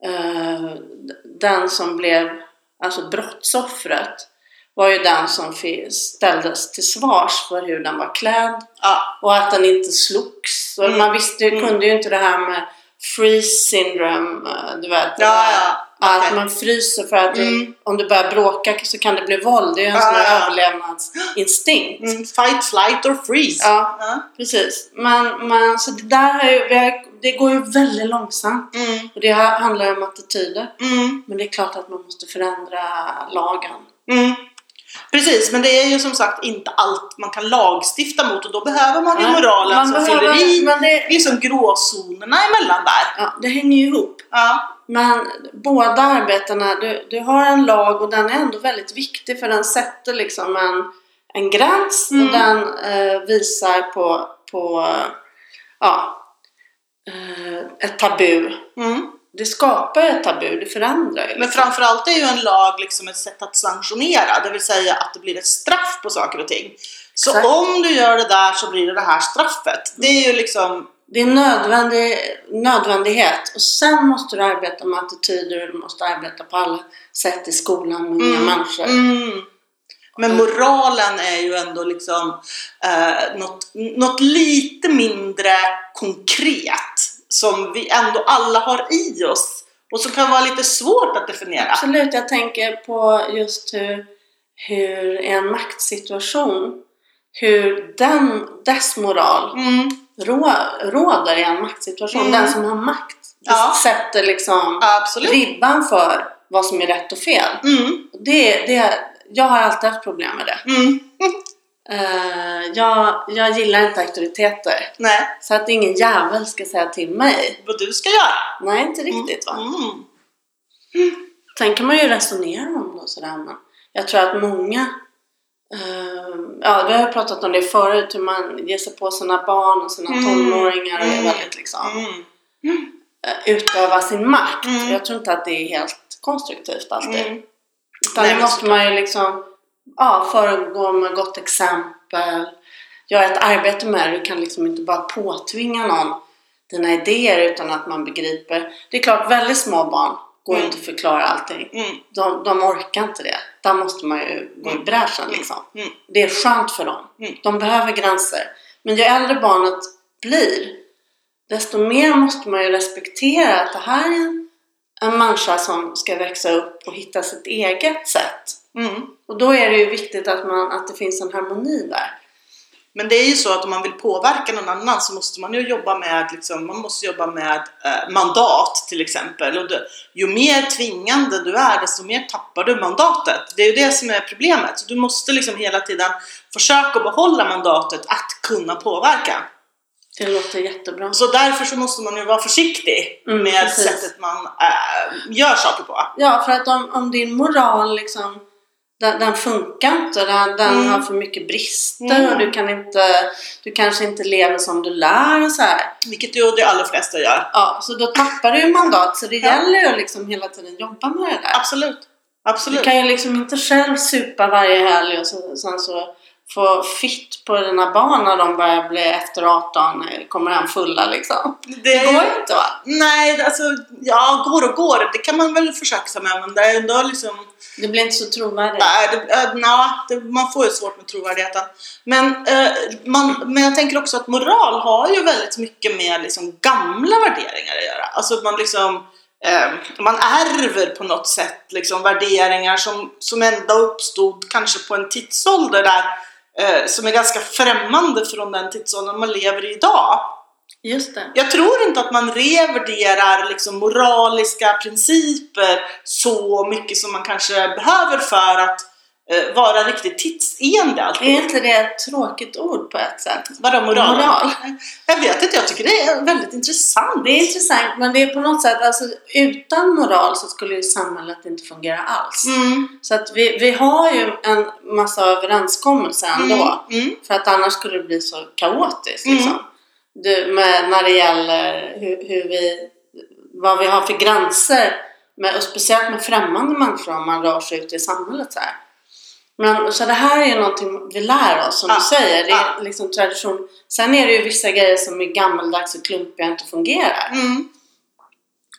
S2: eh, d- den som blev, alltså brottsoffret var ju den som fi- ställdes till svars för hur den var klädd
S1: Ja,
S2: och att den inte slogs. Och
S1: Mm.
S2: Man visste,
S1: Mm.
S2: kunde ju inte det här med freeze syndrome, eh, du vet. det
S1: Ja,
S2: där
S1: ja.
S2: Att
S1: Okej.
S2: man fryser för att det-
S1: Mm.
S2: om du börjar bråka så kan det bli våld. Det är ju en
S1: Ja,
S2: sån
S1: ja.
S2: här överlevnadsinstinkt.
S1: mm, fight, flight or freeze. Uh-huh.
S2: Ja,
S1: Ja.
S2: precis. Men, men så det där har ju, vi har, det går ju väldigt långsamt.
S1: Mm,
S2: Och det här handlar ju om attityder.
S1: mm,
S2: Men det är klart att man måste förändra lagen.
S1: mm. Precis, men det är ju som sagt inte allt man kan lagstifta mot och då behöver man ju
S2: Ja,
S1: moralen
S2: man
S1: som
S2: behöver-
S1: fyller i.
S2: men det,
S1: Liksom gråzonerna emellan där.
S2: ja, det hänger ju ihop.
S1: Ja,
S2: Men båda arbetena, du, du har en lag och den är ändå väldigt viktig för den sätter liksom en, en gräns
S1: Mm.
S2: och den eh, visar på, på ja, eh, ett tabu.
S1: mm.
S2: Det skapar ju ett tabu, det förändrar ju.
S1: Men
S2: Liksom.
S1: framförallt är ju en lag liksom ett sätt att sanktionera, det vill säga att det blir ett straff på saker och ting. Så
S2: Exakt.
S1: om du gör det där så blir det det här straffet. Det är ju liksom,
S2: Det är en nödvändig, nödvändighet och sen måste du arbeta med attityder och du måste arbeta på alla sätt i skolan med unga
S1: Mm.
S2: människor.
S1: mm. Men
S2: Mm.
S1: moralen är ju ändå liksom eh, något, något lite mindre konkret som vi ändå alla har i oss och som kan vara lite svårt att definiera.
S2: Absolut, jag tänker på just hur, hur i en maktsituation, hur den, dess moral
S1: Mm.
S2: rå, råder i en maktsituation.
S1: Mm.
S2: Den som har makt
S1: Ja.
S2: sätter liksom
S1: Absolut.
S2: ribban för vad som är rätt och fel.
S1: Mm.
S2: Och Det, det, jag har alltid haft problem med det.
S1: Mm.
S2: Eh, jag, jag gillar inte auktoriteter.
S1: Nej,
S2: Så att ingen jävel ska säga till mig.
S1: vad du ska göra.
S2: Nej, inte riktigt va.
S1: Mm.
S2: Sen kan man ju resonera om det och sådär men jag tror att många eh, Ja, vi har ju pratat om det förut hur man ger sig på sina barn och sina
S1: Mm.
S2: tonåringar och är
S1: Mm.
S2: väldigt liksom
S1: Mm.
S2: eh, utöva sin makt.
S1: Mm.
S2: Jag tror inte att det är helt konstruktivt alltid.
S1: Mm.
S2: Utan
S1: Nej,
S2: det
S1: men
S2: måste man ju liksom ja, föregå med gott exempel. Göra ett arbete med det. Du kan liksom inte bara påtvinga någon dina idéer utan att man begriper. Det är klart, väldigt små barn går ju
S1: Mm.
S2: inte att förklara allting.
S1: Mm.
S2: De, de orkar inte det. Där måste man ju gå i
S1: Mm.
S2: bräschen liksom.
S1: Mm.
S2: Det är skönt för dem.
S1: Mm.
S2: De behöver gränser. Men ju äldre barnet blir, desto mer måste man ju respektera att det här är en, en människa som ska växa upp och hitta sitt eget sätt.
S1: Mm.
S2: Och då är det ju viktigt att, man, att det finns en harmoni där.
S1: Men det är ju så att om man vill påverka någon annan så måste man ju jobba med, liksom, man måste jobba med eh, mandat till exempel. Och det, ju mer tvingande du är desto mer tappar du mandatet. Det är ju det som är problemet. Så du måste liksom hela tiden försöka behålla mandatet att kunna påverka.
S2: Det låter jättebra.
S1: Så därför så måste man ju vara försiktig
S2: Mm,
S1: med
S2: precis.
S1: sättet man eh, gör saker på.
S2: Ja, för att om, om din moral liksom den, den funkar inte, den, den
S1: Mm.
S2: har för mycket brister
S1: Mm.
S2: och du, kan inte, du kanske inte lever som du lär och så här.
S1: Vilket ju de allra flesta gör.
S2: Ja, så då tappar du ju mandat så det
S1: Ja.
S2: gäller ju att liksom hela tiden jobba med det där.
S1: Absolut.
S2: Du
S1: Absolut.
S2: kan ju liksom inte själv supa varje helg och så, sen så få fitt på dina barn när de börjar bli efter 18 eller kommer hem fulla liksom.
S1: Det
S2: Det
S1: är
S2: går
S1: ju
S2: ju inte va?
S1: Nej, alltså, ja, går och går, det kan man väl försöka sig med, men det är ändå liksom...
S2: Det blir inte så trovärdigt.
S1: Nej, det, äh, nja, det, man får ju svårt med trovärdigheten. Men, eh, man, men jag tänker också att moral har ju väldigt mycket med liksom, gamla värderingar att göra. Alltså att man liksom... Eh, man ärver på något sätt liksom, värderingar som, som ändå uppstod kanske på en tidsålder där eh, som är ganska främmande från den tidsåldern man lever i idag.
S2: Just det.
S1: Jag tror inte att man revärderar liksom moraliska principer så mycket som man kanske behöver för att eh, vara riktigt tidsenlig alltid.
S2: Är inte det ett tråkigt ord på ett sätt?
S1: Vadå moral?
S2: Mm. Moral.
S1: Jag vet inte, jag tycker det är väldigt intressant.
S2: Det är intressant, men det är på något sätt, alltså utan moral så skulle ju samhället inte fungera alls.
S1: Mm,
S2: Så att vi, vi har ju en massa överenskommelser ändå.
S1: mm,
S2: För att annars skulle det bli så kaotiskt
S1: Mm.
S2: liksom. Du, med, när det gäller hur, hur vi, vad vi har för gränser. Med, och speciellt med främmande människor om man rör sig ute i samhället så här. Men, så det här är ju någonting vi lär oss som
S1: Ah,
S2: du säger. Det är
S1: ah.
S2: liksom tradition. Sen är det ju vissa grejer som är gammaldags och klumpiga och inte fungerar.
S1: mm.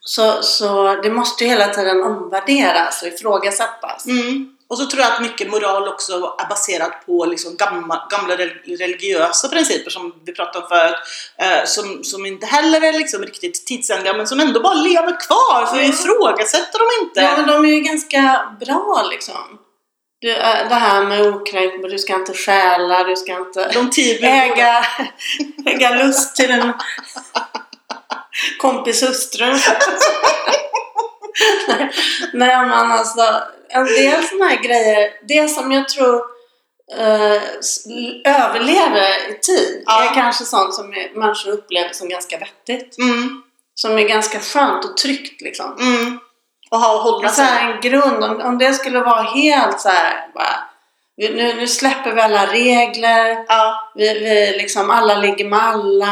S2: Så, så det måste ju hela tiden omvärderas och ifrågasättas.
S1: Mm. Och så tror jag att mycket moral också är baserat på liksom gamla, gamla rel- religiösa principer som vi pratade om förut. Eh, som, som inte heller är liksom riktigt tidsenliga men som ändå bara lever kvar för vi
S2: Mm.
S1: ifrågasätter dem inte.
S2: Ja, men de är ju ganska bra liksom. Du, äh, det här med okränkbar, du ska inte stjäla, du ska inte
S1: De tio budorden.
S2: äga, äga lust till en kompis hustru. Nej, Nej, men alltså en del sådana här grejer, det som jag tror eh, s- överlever i tid
S1: Ja.
S2: är kanske sånt som människor upplever som ganska vettigt.
S1: Mm,
S2: Som är ganska skönt och tryggt liksom.
S1: mm. Och ha och hålla
S2: Men så
S1: sig.
S2: här, Alltså, en grund, om, om det skulle vara helt så här, bara, vi- nu, nu släpper vi alla regler,
S1: Ja.
S2: vi, vi liksom, alla ligger med alla.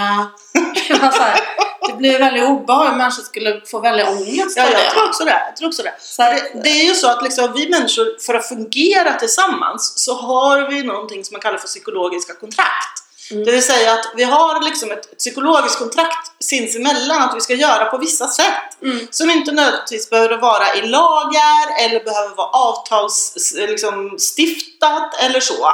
S2: Det var så här, det blir väldigt obehagligt, människor skulle få väldigt ångest
S1: Ja,
S2: av
S1: jag tror
S2: det.
S1: också det. Jag tror också det.
S2: Så här,
S1: Det, det är ju så att liksom, vi människor, för att fungera tillsammans, så har vi någonting som man kallar för psykologiska kontrakt.
S2: Mm.
S1: Det vill säga att vi har liksom ett psykologiskt kontrakt sinsemellan att vi ska göra på vissa sätt.
S2: mm,
S1: Som inte nödvändigtvis behöver vara i lagar eller behöver vara avtalsstiftat liksom, stiftat eller så.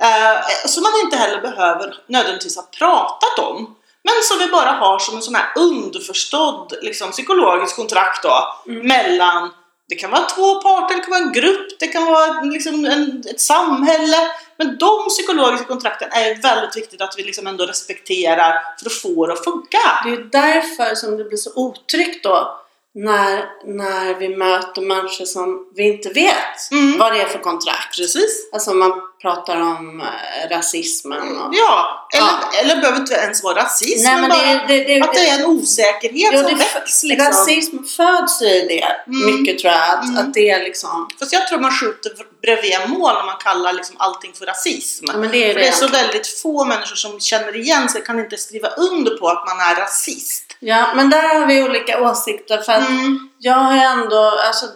S1: Eh, som man inte heller behöver nödvändigtvis ha pratat om. Men som vi bara har som en sån här underförstådd liksom, psykologisk kontrakt då
S2: mm,
S1: mellan, det kan vara två parter, det kan vara en grupp, det kan vara liksom en, ett samhälle. Men de psykologiska kontrakten är väldigt viktigt att vi liksom ändå respekterar för att få det att funka.
S2: det är ju därför som det blir så otryggt då när, när vi möter människor som vi inte vet
S1: Mm.
S2: vad det är för kontrakt.
S1: Precis.
S2: Alltså man pratar om eh, rasismen och...
S1: Ja, eller,
S2: Ja.
S1: eller behöver inte ens vara rasism,
S2: Nej, men
S1: bara
S2: det, det, det,
S1: att det är en osäkerhet
S2: Jo,
S1: som
S2: det-
S1: väcks. Liksom.
S2: Rasism föds ju i det
S1: Mm.
S2: mycket tror jag. Att,
S1: Mm.
S2: att det är liksom...
S1: Fast jag tror man skjuter bredvid mål om man kallar liksom allting för rasism.
S2: Ja, men det är
S1: För
S2: det.
S1: det är så väldigt få människor som känner igen sig, kan inte skriva under på att man är rasist.
S2: Ja, men där har vi olika åsikter. För att
S1: Mm.
S2: jag har ändå... Alltså,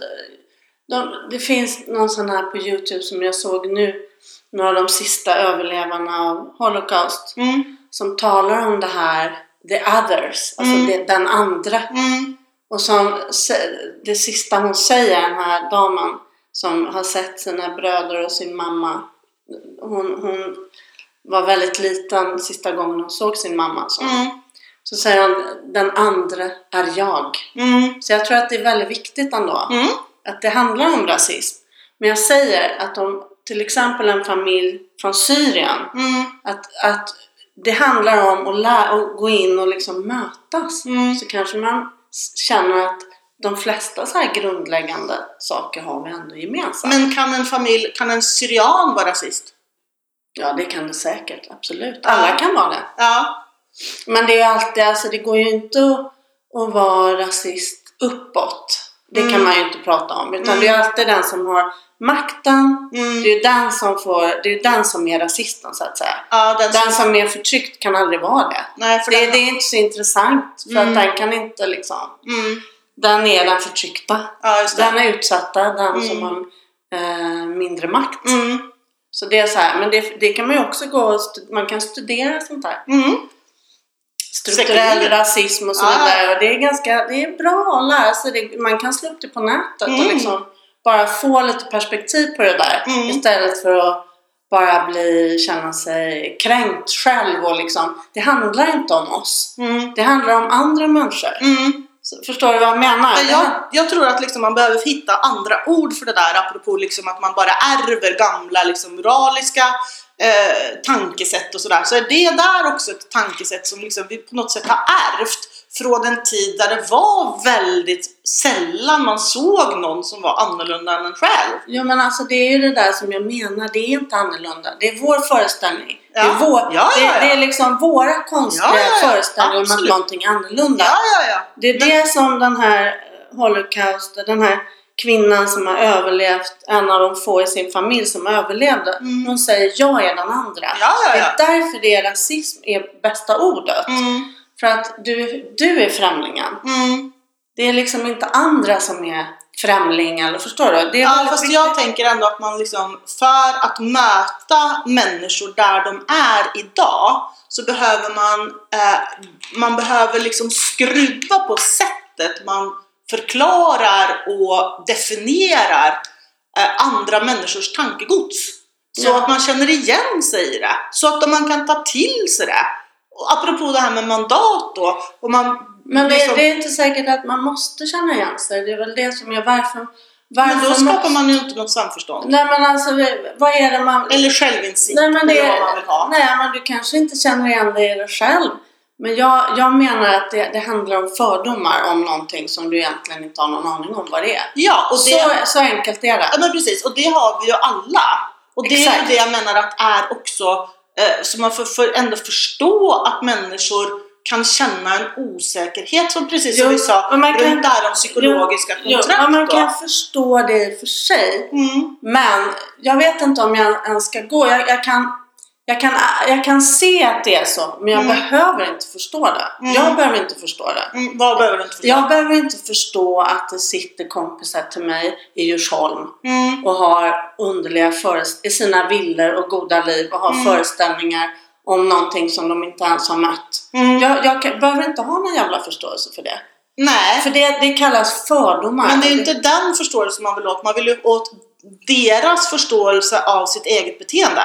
S2: de, det finns någon sån här på Youtube som jag såg nu. Några av de sista överlevarna av Holocaust.
S1: Mm.
S2: Som talar om det här. The others. Alltså
S1: Mm.
S2: det, den andra.
S1: Mm.
S2: Och som sä- det sista hon säger, den här damen som har sett sina bröder och sin mamma. Hon, hon var väldigt liten sista gången hon såg sin mamma. Så,
S1: Mm,
S2: så säger hon, den andra är jag.
S1: mm,
S2: Så jag tror att det är väldigt viktigt ändå
S1: mm,
S2: att det handlar om rasism. Men jag säger att om till exempel en familj från Syrien,
S1: mm,
S2: att, att det handlar om att, lä- att gå in och liksom mötas
S1: mm.
S2: så kanske man s- känner att de flesta så här grundläggande saker har vi ändå gemensamt.
S1: Men kan en familj, kan en syrian vara rasist?
S2: Ja, det kan det säkert. Absolut. Alla kan vara det.
S1: Ja.
S2: Men det är ju alltid, alltså det går ju inte att, att vara rasist uppåt. Det
S1: Mm.
S2: kan man ju inte prata om. Utan
S1: Mm.
S2: det är alltid den som har makten. Det
S1: Mm.
S2: är ju den som, får, det är ju den som är rasisten så att säga.
S1: Ja, den som,
S2: Den som är förtryckt kan aldrig vara det.
S1: nej, för
S2: Det,
S1: den,
S2: det är inte så intressant. För
S1: Mm.
S2: att den kan inte liksom...
S1: Mm.
S2: Den är den förtryckta.
S1: Ja, just det.
S2: Den är utsatta, den
S1: Mm.
S2: som har eh, mindre makt.
S1: Mm.
S2: Så det är så här, men det, det kan man ju också gå och stu- man kan studera sånt här.
S1: Mm.
S2: Strukturell
S1: Säkert.
S2: rasism och så
S1: Ja.
S2: vidare. Och det är ganska, det är bra att lära sig. Det, man kan slå upp det på nätet
S1: Mm.
S2: och liksom bara få lite perspektiv på det där.
S1: Mm.
S2: Istället för att bara bli, känna sig kränkt själv och liksom, det handlar inte om oss.
S1: Mm.
S2: Det handlar om andra människor.
S1: Mm.
S2: Så Förstår du vad jag menar?
S1: Men Jag, jag tror att liksom man behöver hitta andra ord för det där apropå liksom att man bara ärver gamla liksom moraliska eh, tankesätt och sådär. Så är det där också ett tankesätt som liksom vi på något sätt har ärvt från en tid där det var väldigt sällan man såg någon som var annorlunda än en själv.
S2: Jo men alltså det är ju det där som jag menar, det är inte annorlunda. Det är vår föreställning. Det, är
S1: Ja.
S2: vår,
S1: Ja, ja, ja.
S2: Det, det är liksom våra konstiga
S1: Ja, ja, ja.
S2: föreställningar om att
S1: Absolut.
S2: någonting är annorlunda.
S1: Ja, ja, ja.
S2: Det är det som den här holocaust, den här kvinnan som har överlevt, en av de få i sin familj som överlevde.
S1: Mm.
S2: Hon säger jag är den andra.
S1: Ja, ja, ja.
S2: Det är därför det är rasism är bästa ordet.
S1: Mm,
S2: För att du, du är främlingen.
S1: mm.
S2: Det är liksom inte andra som är främling eller förstår du? Det är
S1: Ja,
S2: väldigt
S1: fast
S2: viktigt.
S1: jag tänker ändå att man liksom för att möta människor där de är idag så behöver man, eh, man behöver liksom skruva på sättet man förklarar och definierar eh, andra människors tankegods. Så
S2: Ja.
S1: att man känner igen sig i det, så att man kan ta till sig det. Och apropå det här med mandat då, och man
S2: Men det,
S1: liksom-
S2: det är inte säkert att man måste känna igen sig. Det är väl det som är varför... varför
S1: men då skapar man ju inte något samförstånd.
S2: Nej men alltså, vad är det man...
S1: Eller självinsikt,
S2: Nej men, det,
S1: eller vad man vill ha.
S2: nej men du kanske inte känner igen dig i det själv. Men jag, jag menar att det, det handlar om fördomar om någonting som du egentligen inte har någon aning om vad det är.
S1: Ja, och det,
S2: Så, så enkelt är det.
S1: Ja, men precis. Och det har vi ju alla. Och det är
S2: Exakt.
S1: ju det jag menar att är också, eh, så man får för, ändå förstå att människor kan känna en osäkerhet som precis som
S2: Jo,
S1: vi sa,
S2: men man kan-
S1: runt det här om psykologiska
S2: Jo,
S1: kontrakt.
S2: men man
S1: då.
S2: kan förstå det i och för sig.
S1: mm,
S2: Men jag vet inte om jag ens ska gå. Jag, jag, kan, jag, kan, jag kan se att det är så, men jag
S1: Mm.
S2: behöver inte förstå det.
S1: Mm.
S2: Jag behöver inte förstå det.
S1: mm, vad behöver du inte förstå?
S2: Jag behöver inte förstå att det sitter kompisar till mig i Djursholm
S1: Mm,
S2: och har underliga föreställningar i sina villor och goda liv och har
S1: Mm.
S2: föreställningar om någonting som de inte ens har mött.
S1: mm,
S2: Jag, jag kan, behöver inte ha någon jävla förståelse för det.
S1: nej,
S2: För det, det kallas fördomar.
S1: men det är ju inte den förståelsen man vill åt. Man vill ju åt deras förståelse av sitt eget beteende.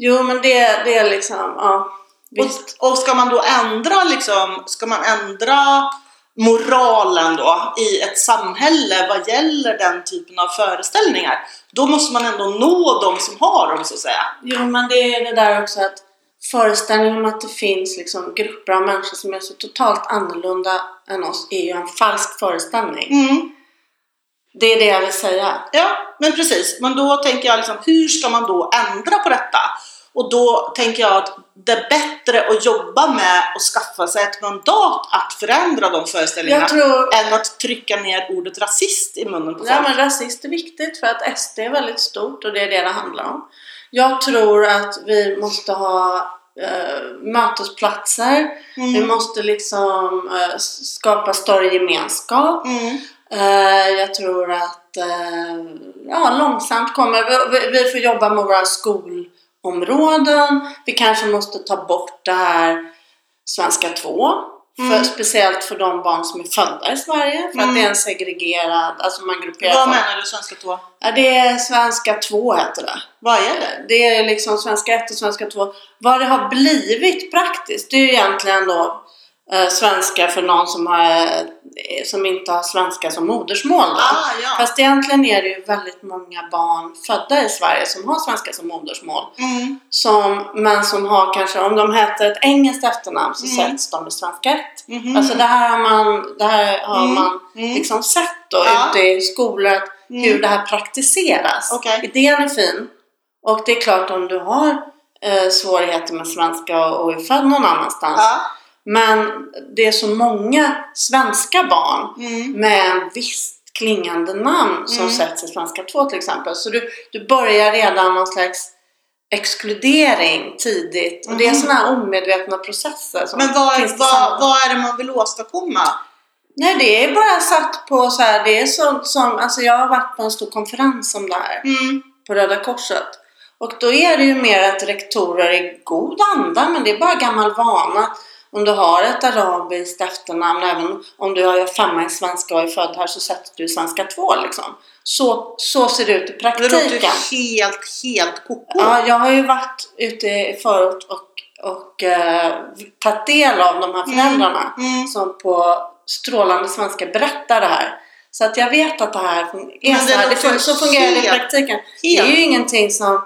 S2: Jo, men det, det är liksom... Ja, visst.
S1: Och, och ska man då ändra liksom, ska man ändra moralen då i ett samhälle vad gäller den typen av föreställningar, då måste man ändå nå de som har dem så att säga.
S2: Jo, men det är det där också att föreställningen om att det finns liksom grupper av människor som är så totalt annorlunda än oss är ju en falsk föreställning.
S1: Mm.
S2: Det är det jag vill säga.
S1: Ja, men precis. Men då tänker jag liksom, hur ska man då ändra på detta? Och då tänker jag att det är bättre att jobba med och skaffa sig ett mandat att förändra de föreställningarna
S2: Jag tror...
S1: än att trycka ner ordet rasist i munnen på folk.
S2: Ja, men rasist är viktigt för att SD är väldigt stort och det är det det handlar om. Jag tror att vi måste ha eh, mötesplatser. Vi
S1: mm.
S2: måste liksom eh, skapa större gemenskap.
S1: Mm.
S2: Eh, jag tror att eh, ja, långsamt kommer vi, vi, vi får jobba med våra skolområden. Vi kanske måste ta bort det här svenska 2. För,
S1: Mm.
S2: speciellt för de barn som är födda i Sverige. För att
S1: Mm.
S2: det är en segregerad, alltså man grupperar
S1: Vad
S2: folk.
S1: menar du svenska två?
S2: Ja, det är svenska 2 heter det.
S1: Vad är det?
S2: Det är liksom svenska 1 och svenska 2. Vad det har blivit praktiskt, det är ju egentligen då eh, svenska för någon som, har, eh, som inte har svenska som modersmål. Då.
S1: Ah, ja.
S2: Fast egentligen är det ju väldigt många barn födda i Sverige som har svenska som modersmål.
S1: Mm.
S2: Som, men som har kanske, om de heter ett engelskt efternamn så
S1: Mm.
S2: sätts de i svenska 1.
S1: Mhm.
S2: Alltså det här har man, det här har
S1: Mm.
S2: man
S1: Mm.
S2: liksom sett då
S1: Ja.
S2: ute i skolor att
S1: Mm.
S2: hur det här praktiseras.
S1: Okej.
S2: Idén är fin. Och det är klart om du har eh, svårigheter med svenska och, och är född någon annanstans.
S1: Ja.
S2: Men det är så många svenska barn
S1: Mm.
S2: med visst klingande namn som
S1: Mm.
S2: sätts i Svenska 2 till exempel. Så du, du börjar redan någon slags exkludering tidigt. Och det är
S1: Mhm.
S2: sådana här omedvetna processer som
S1: Men vad,
S2: finns
S1: vad,
S2: tillsammans.
S1: vad är det man vill åstadkomma?
S2: Nej, det är bara satt på så här, det är sånt som, alltså jag har varit på en stor konferens om det här
S1: Mm.
S2: på Röda Korset. Och då är det ju mer att rektorer är god anda, men det är bara gammal vana. Om du har ett arabiskt efternamn, även om du har femma i svenska och är född här, så sätter du i svenska två liksom. Så, så ser det ut i
S1: Det låter ju
S2: praktiken.
S1: helt, helt koko.
S2: Ja, jag har ju varit ute i förort och, och eh, tagit del av de här föräldrarna
S1: Mm.
S2: som på strålande svenska berättar det här. Så att jag vet att det här fun- är
S1: Men det
S2: så här. Det
S1: låter
S2: fun- så fungerar det i
S1: helt-
S2: praktiken. Det är ju ingenting som,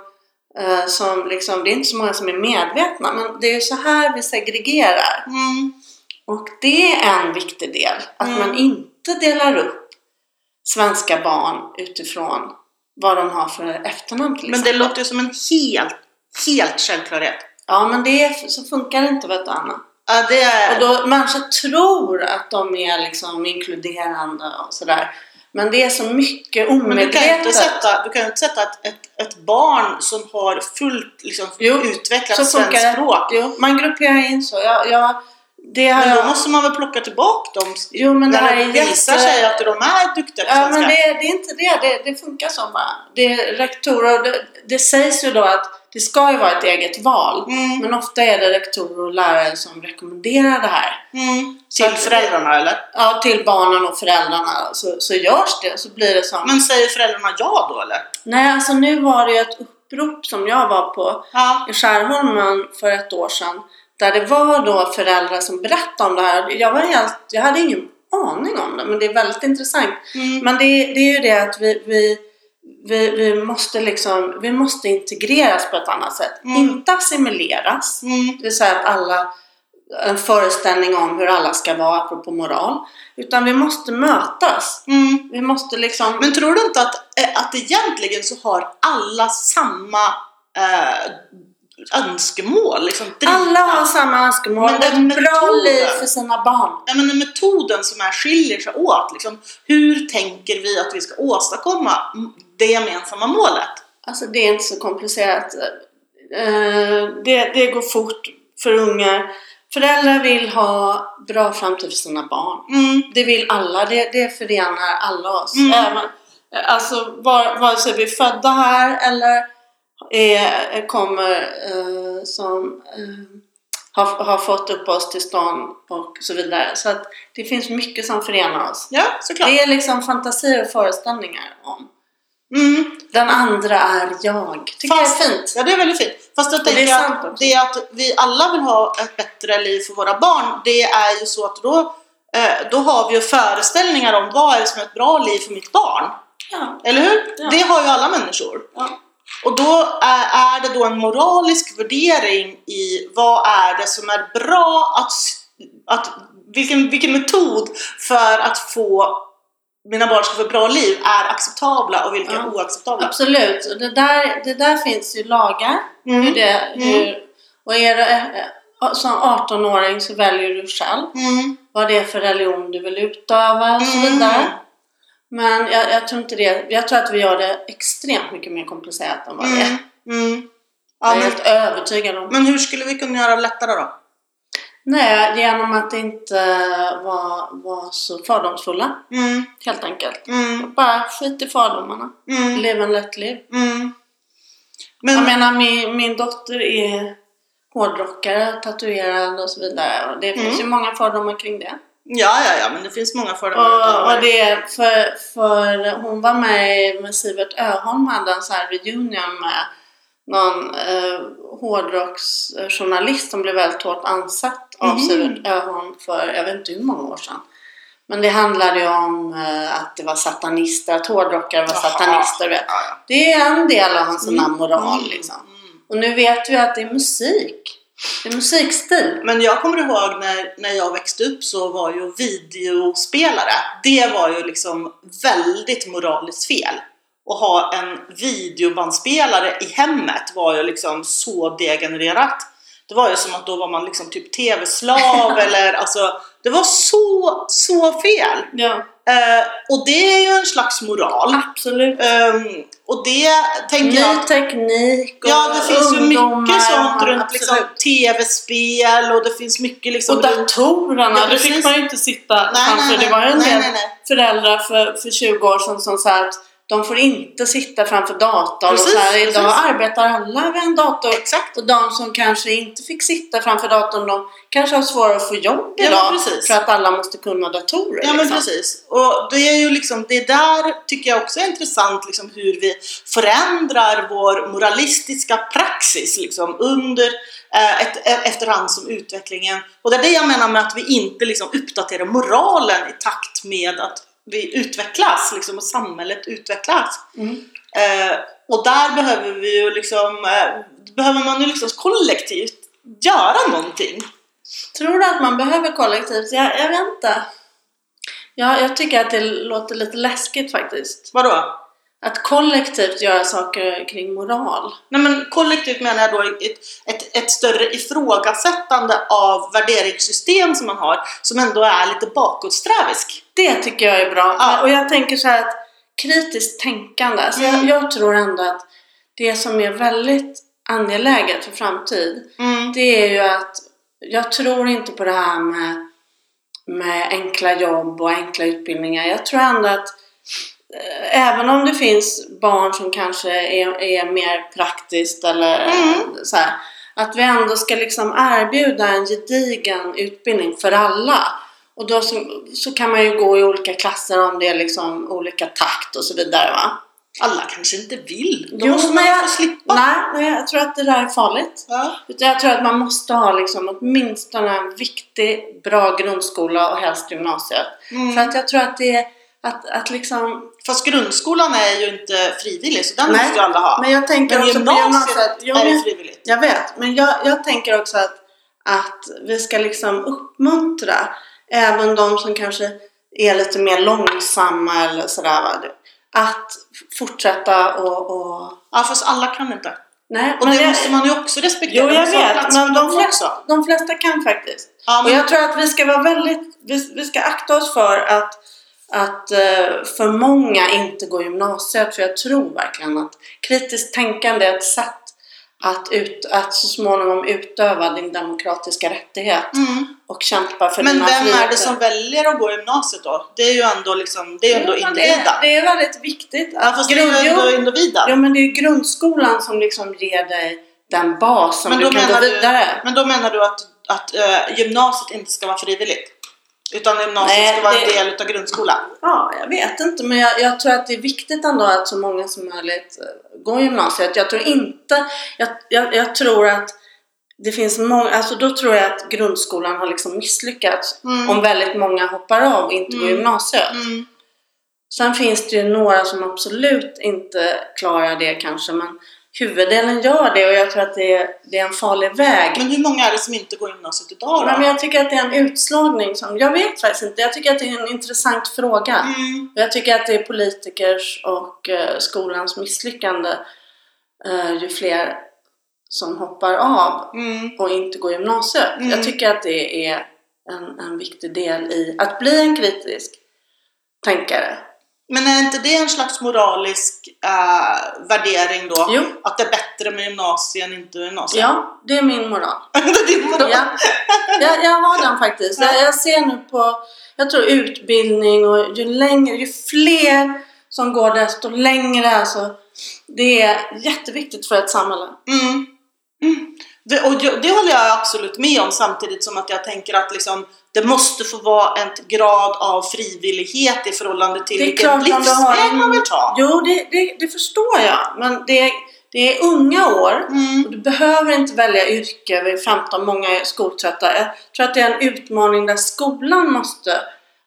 S2: eh, som liksom, det är inte så många som är medvetna. Men det är ju så här vi segregerar.
S1: Mm.
S2: Och det är en viktig del, att
S1: Mm.
S2: man inte delar upp svenska barn utifrån vad de har för efternamn till
S1: Men det
S2: exempel.
S1: låter ju som en helt, helt självklarhet.
S2: Ja, men det är, så funkar det inte vet du Anna.
S1: Ja, det är...
S2: Och då, människor tror att de är liksom inkluderande och sådär. Men det är så mycket
S1: Men du kan ju inte
S2: omedvetet.
S1: sätta, du kan ju inte sätta ett, ett, ett barn som har fullt liksom,
S2: Jo,
S1: utvecklat
S2: så funkar
S1: svenskt
S2: det.
S1: språk.
S2: Jo, man grupperar in så. Jag, jag, det har
S1: Men då
S2: jag...
S1: måste man väl plocka tillbaka dem
S2: Jo, men det
S1: när
S2: här
S1: det
S2: är
S1: visar
S2: jätte-
S1: sig att de är duktiga på
S2: Ja,
S1: svenska.
S2: men det, det är inte det. det. Det funkar så bara. Det är rektorer, och det, det sägs ju då att det ska ju vara ett eget val.
S1: mm,
S2: Men ofta är det rektorer och lärare som rekommenderar det här.
S1: mm.
S2: Så
S1: Till
S2: att-
S1: föräldrarna eller?
S2: Ja, till barnen och föräldrarna så, så görs det. Så blir det som...
S1: Men säger föräldrarna ja då eller?
S2: Nej, alltså nu var det ju ett upprop som jag var på
S1: Ja.
S2: i Skärholmen för ett år sedan. Där det var då föräldrar som berättade om det här. Jag, var helt, jag hade ingen aning om det, men det är väldigt intressant.
S1: Mm.
S2: Men det, är- det är ju det att vi, vi, vi, vi, måste liksom, vi måste integreras på ett annat sätt.
S1: Mm.
S2: Inte assimileras.
S1: Mm.
S2: Det vill säga att alla, en föreställning om hur alla ska vara, apropå moral. Utan vi måste mötas.
S1: Mm.
S2: Vi måste liksom...
S1: Men tror du inte att, eh, att egentligen så har alla samma eh, önskemål? Liksom, driv-
S2: alla har samma önskemål
S1: Men
S2: och ett
S1: den
S2: bra
S1: metoden-
S2: liv för sina barn.
S1: Ja, men det är metoden som är skiljer sig åt. Liksom, hur tänker vi att vi ska åstadkomma m- det gemensamma målet?
S2: Alltså det är inte så komplicerat. Eh, Det, det går fort för ungar. Föräldrar vill ha bra framtid för sina barn.
S1: Mm.
S2: Det vill alla, det, det förenar alla oss.
S1: Mm.
S2: Även, alltså var- vare sig vi är födda här eller är, kommer eh, som eh, har, har fått uppehållstillstånd och så vidare. Så att det finns mycket som förenar oss.
S1: Ja, såklart.
S2: Det är liksom fantasier och föreställningar om.
S1: Mm.
S2: Den andra är jag. Tycker
S1: Fast-
S2: jag är fint.
S1: Ja, det är väldigt fint. Fast jag
S2: Men det
S1: tänker
S2: är sant
S1: att
S2: också.
S1: det att vi alla vill ha ett bättre liv för våra barn, det är ju så att då, eh, då har vi ju föreställningar om vad är det som är ett bra liv för mitt barn.
S2: Ja.
S1: Eller hur?
S2: Ja.
S1: Det har ju alla människor.
S2: Ja.
S1: Och då är, är det då en moralisk värdering i vad är det som är bra att, s- att vilken, vilken metod för att få mina barn ska få ett bra liv är acceptabla och vilka
S2: Ja.
S1: oacceptabla.
S2: Absolut. Och det, där, det där finns ju lagar. Hur det,
S1: Mm.
S2: hur, och är du eh, som 18-åring så väljer du själv
S1: Mm.
S2: vad det är för religion du vill utöva och så vidare.
S1: Mm.
S2: Men jag, jag tror inte det. Jag tror att vi gör det extremt mycket mer komplicerat än vad det är.
S1: Mm. Mm.
S2: Jag
S1: Ja,
S2: är
S1: men,
S2: helt övertygad om.
S1: men hur skulle vi kunna göra det lättare då?
S2: Nej, genom att inte vara, vara så fördomsfulla
S1: Mm.
S2: helt enkelt.
S1: Mm.
S2: Bara skit i fördomarna.
S1: Mm.
S2: Lev en lätt liv.
S1: Mm. Men,
S2: Jag menar min, min dotter är hårdrockare, tatuerad och så vidare. Och det finns
S1: Mm.
S2: ju många fördomar kring det.
S1: ja, ja, ja, men det finns många fördomar.
S2: Och, och det är för, för hon var med, i- med Sivert Öholm hade en sån här reunion med någon eh, hårdrocksjournalist som blev väldigt hårt ansatt av
S1: Mhm.
S2: Sivert Öholm för jag vet inte hur många år sedan. Men det handlade ju om eh, att det var satanister, att hårdrockare var
S1: Jaha.
S2: satanister. vet.
S1: Ja, ja.
S2: Det är en del av en sån här moral
S1: Mm.
S2: liksom.
S1: Mm.
S2: Och nu vet vi att det är musik. Det är musikstil.
S1: Men jag kommer ihåg när, när jag växte upp så var ju videospelare, det var ju liksom väldigt moraliskt fel. Att ha en videobandspelare i hemmet var ju liksom så degenererat. Det var ju som att då var man liksom typ tv-slav eller alltså, det var så, så fel.
S2: Ja,
S1: Eh, och det är ju en slags moral.
S2: absolut.
S1: Ehm, och det tänker jag...
S2: Ny teknik och
S1: Ja, det finns ju
S2: ungdomar,
S1: mycket sånt
S2: ja,
S1: runt liksom,
S2: absolut.
S1: tv-spel och det finns mycket liksom...
S2: Och
S1: runt-
S2: datorerna,
S1: Ja,
S2: det fick
S1: precis.
S2: man ju inte sitta
S1: nej,
S2: framför.
S1: nej, nej,
S2: Det var ju en
S1: nej,
S2: del
S1: nej, nej.
S2: föräldrar för, för 20 år sedan som sa att de får inte sitta framför datorn.
S1: Precis,
S2: och så här, idag
S1: precis.
S2: arbetar alla vid en dator.
S1: Exakt.
S2: Och de som kanske inte fick sitta framför datorn, de kanske har svårare att få jobb
S1: Ja, men
S2: idag.
S1: precis.
S2: För att alla måste kunna datorer.
S1: Ja, men
S2: liksom.
S1: precis. Och det är ju liksom, det där tycker jag också är intressant, liksom hur vi förändrar vår moralistiska praxis liksom under eh, ett, e- efterhand som utvecklingen. Och det är det jag menar med att vi inte liksom uppdaterar moralen i takt med att vi utvecklas liksom, och samhället utvecklas.
S2: Mm.
S1: Eh, och där behöver vi ju liksom, eh, behöver man ju liksom kollektivt göra någonting.
S2: Tror du att man behöver kollektivt? Jag, jag vet inte. Ja, jag tycker att det låter lite läskigt faktiskt.
S1: Vadå?
S2: Att kollektivt göra saker kring moral.
S1: Nej men kollektivt menar jag då ett, ett, ett större ifrågasättande av värderingssystem som man har som ändå är lite bakåtsträvisk.
S2: Det tycker jag är bra.
S1: Ja.
S2: Och jag tänker så här att kritiskt tänkande. Alltså
S1: Mm.
S2: jag, jag tror ändå att det som är väldigt angeläget för framtid
S1: Mm.
S2: det är ju att jag tror inte på det här med, med enkla jobb och enkla utbildningar. Jag tror ändå att eh, även om det finns barn som kanske är, är mer praktiskt eller eh, så här, att vi ändå ska liksom erbjuda en gedigen utbildning för alla. Och då så, så kan man ju gå i olika klasser om det är liksom olika takt och så vidare va.
S1: Alla kanske inte vill. Då
S2: Jo,
S1: måste man
S2: men
S1: ju
S2: jag-
S1: få slippa.
S2: Nej, nej, jag tror att det där är farligt.
S1: Ja.
S2: Utan jag tror att man måste ha liksom åtminstone en viktig, bra grundskola och helst gymnasiet.
S1: Mm.
S2: För att jag tror att det är att, att liksom...
S1: Fast grundskolan är ju inte frivillig så den
S2: Nej.
S1: måste ju alla ha.
S2: Men jag tänker
S1: Men
S2: också på gymnasiet.
S1: gymnasiet
S2: Jo,
S1: är ju
S2: men,
S1: frivilligt.
S2: jag vet, men jag, jag tänker också att, att vi ska liksom uppmuntra även de som kanske är lite mer långsamma eller sådär. va, Att fortsätta och... och
S1: Ja fast alla kan inte.
S2: nej,
S1: Och
S2: men
S1: det
S2: jag-
S1: måste man ju också respektera.
S2: Jo, jag
S1: Det måste vara
S2: vet.
S1: plats
S2: Men
S1: för
S2: de
S1: dem
S2: flesta, de flesta kan faktiskt.
S1: Ja,
S2: Och
S1: men,
S2: jag tror att vi ska vara väldigt, vi, vi ska akta oss för att, att eh, för många inte går gymnasiet. För jag tror verkligen att kritiskt tänkande är ett sätt att, ut, att så småningom utöva din demokratiska rättighet
S1: mm.
S2: och kämpa för
S1: men
S2: dina
S1: vem är det
S2: friheter.
S1: som väljer att gå gymnasiet då? Det är ju ändå, liksom, det är ju ändå
S2: Jo, men det,
S1: individen.
S2: är- det är väldigt viktigt.
S1: Ja, fast det är ju ändå
S2: jo,
S1: individen.
S2: jo, men det är ju grundskolan som liksom ger dig den bas som
S1: Men
S2: du
S1: då
S2: kan gå
S1: menar du-
S2: vidare.
S1: Men då menar du att, att eh, gymnasiet inte ska vara frivilligt? Utan gymnasiet
S2: Nej,
S1: ska vara en
S2: det-
S1: del utav grundskolan?
S2: Ja, jag vet inte, men jag, jag tror att det är viktigt ändå att så många som möjligt eh, går gymnasiet. Jag tror inte, jag, jag, jag tror att det finns många, alltså då tror jag att grundskolan har liksom misslyckats
S1: Mm.
S2: om väldigt många hoppar av och inte går
S1: Mm.
S2: gymnasiet.
S1: Mm.
S2: Sen finns det ju några som absolut inte klarar det kanske, men huvuddelen gör det och jag tror att det är, det är en farlig väg.
S1: Men hur många är det som inte går gymnasiet idag då?
S2: Men jag tycker att det är en utslagning som, jag vet faktiskt inte, jag tycker att det är en intressant fråga.
S1: Mm.
S2: Jag tycker att det är politikers och eh, skolans misslyckande eh, ju fler som hoppar av
S1: Mm.
S2: och inte går gymnasiet.
S1: Mm.
S2: Jag tycker att det är en, en viktig del i att bli en kritisk tänkare.
S1: Men är inte det en slags moralisk eh, värdering då?
S2: Jo,
S1: Att det är bättre med gymnasiet än inte gymnasiet?
S2: ja, det är min moral.
S1: det är moral.
S2: Ja. Jag, jag har den faktiskt.
S1: Ja.
S2: Jag, jag ser nu på, jag tror utbildning och ju längre, ju fler som går desto längre. Alltså, det är jätteviktigt för ett samhälle.
S1: Mm. Mm. Det, och jag- det håller jag absolut med om samtidigt som att jag tänker att liksom, det måste få vara en grad av frivillighet i förhållande till
S2: Det är
S1: vilken
S2: klart om du har
S1: livsväg
S2: en-
S1: man vill ta.
S2: Jo, det, det, det förstår jag. Men det, det är unga år.
S1: Mm.
S2: Och du behöver inte välja yrke vid 15. Många är skoltrötta. Jag tror att det är en utmaning där skolan måste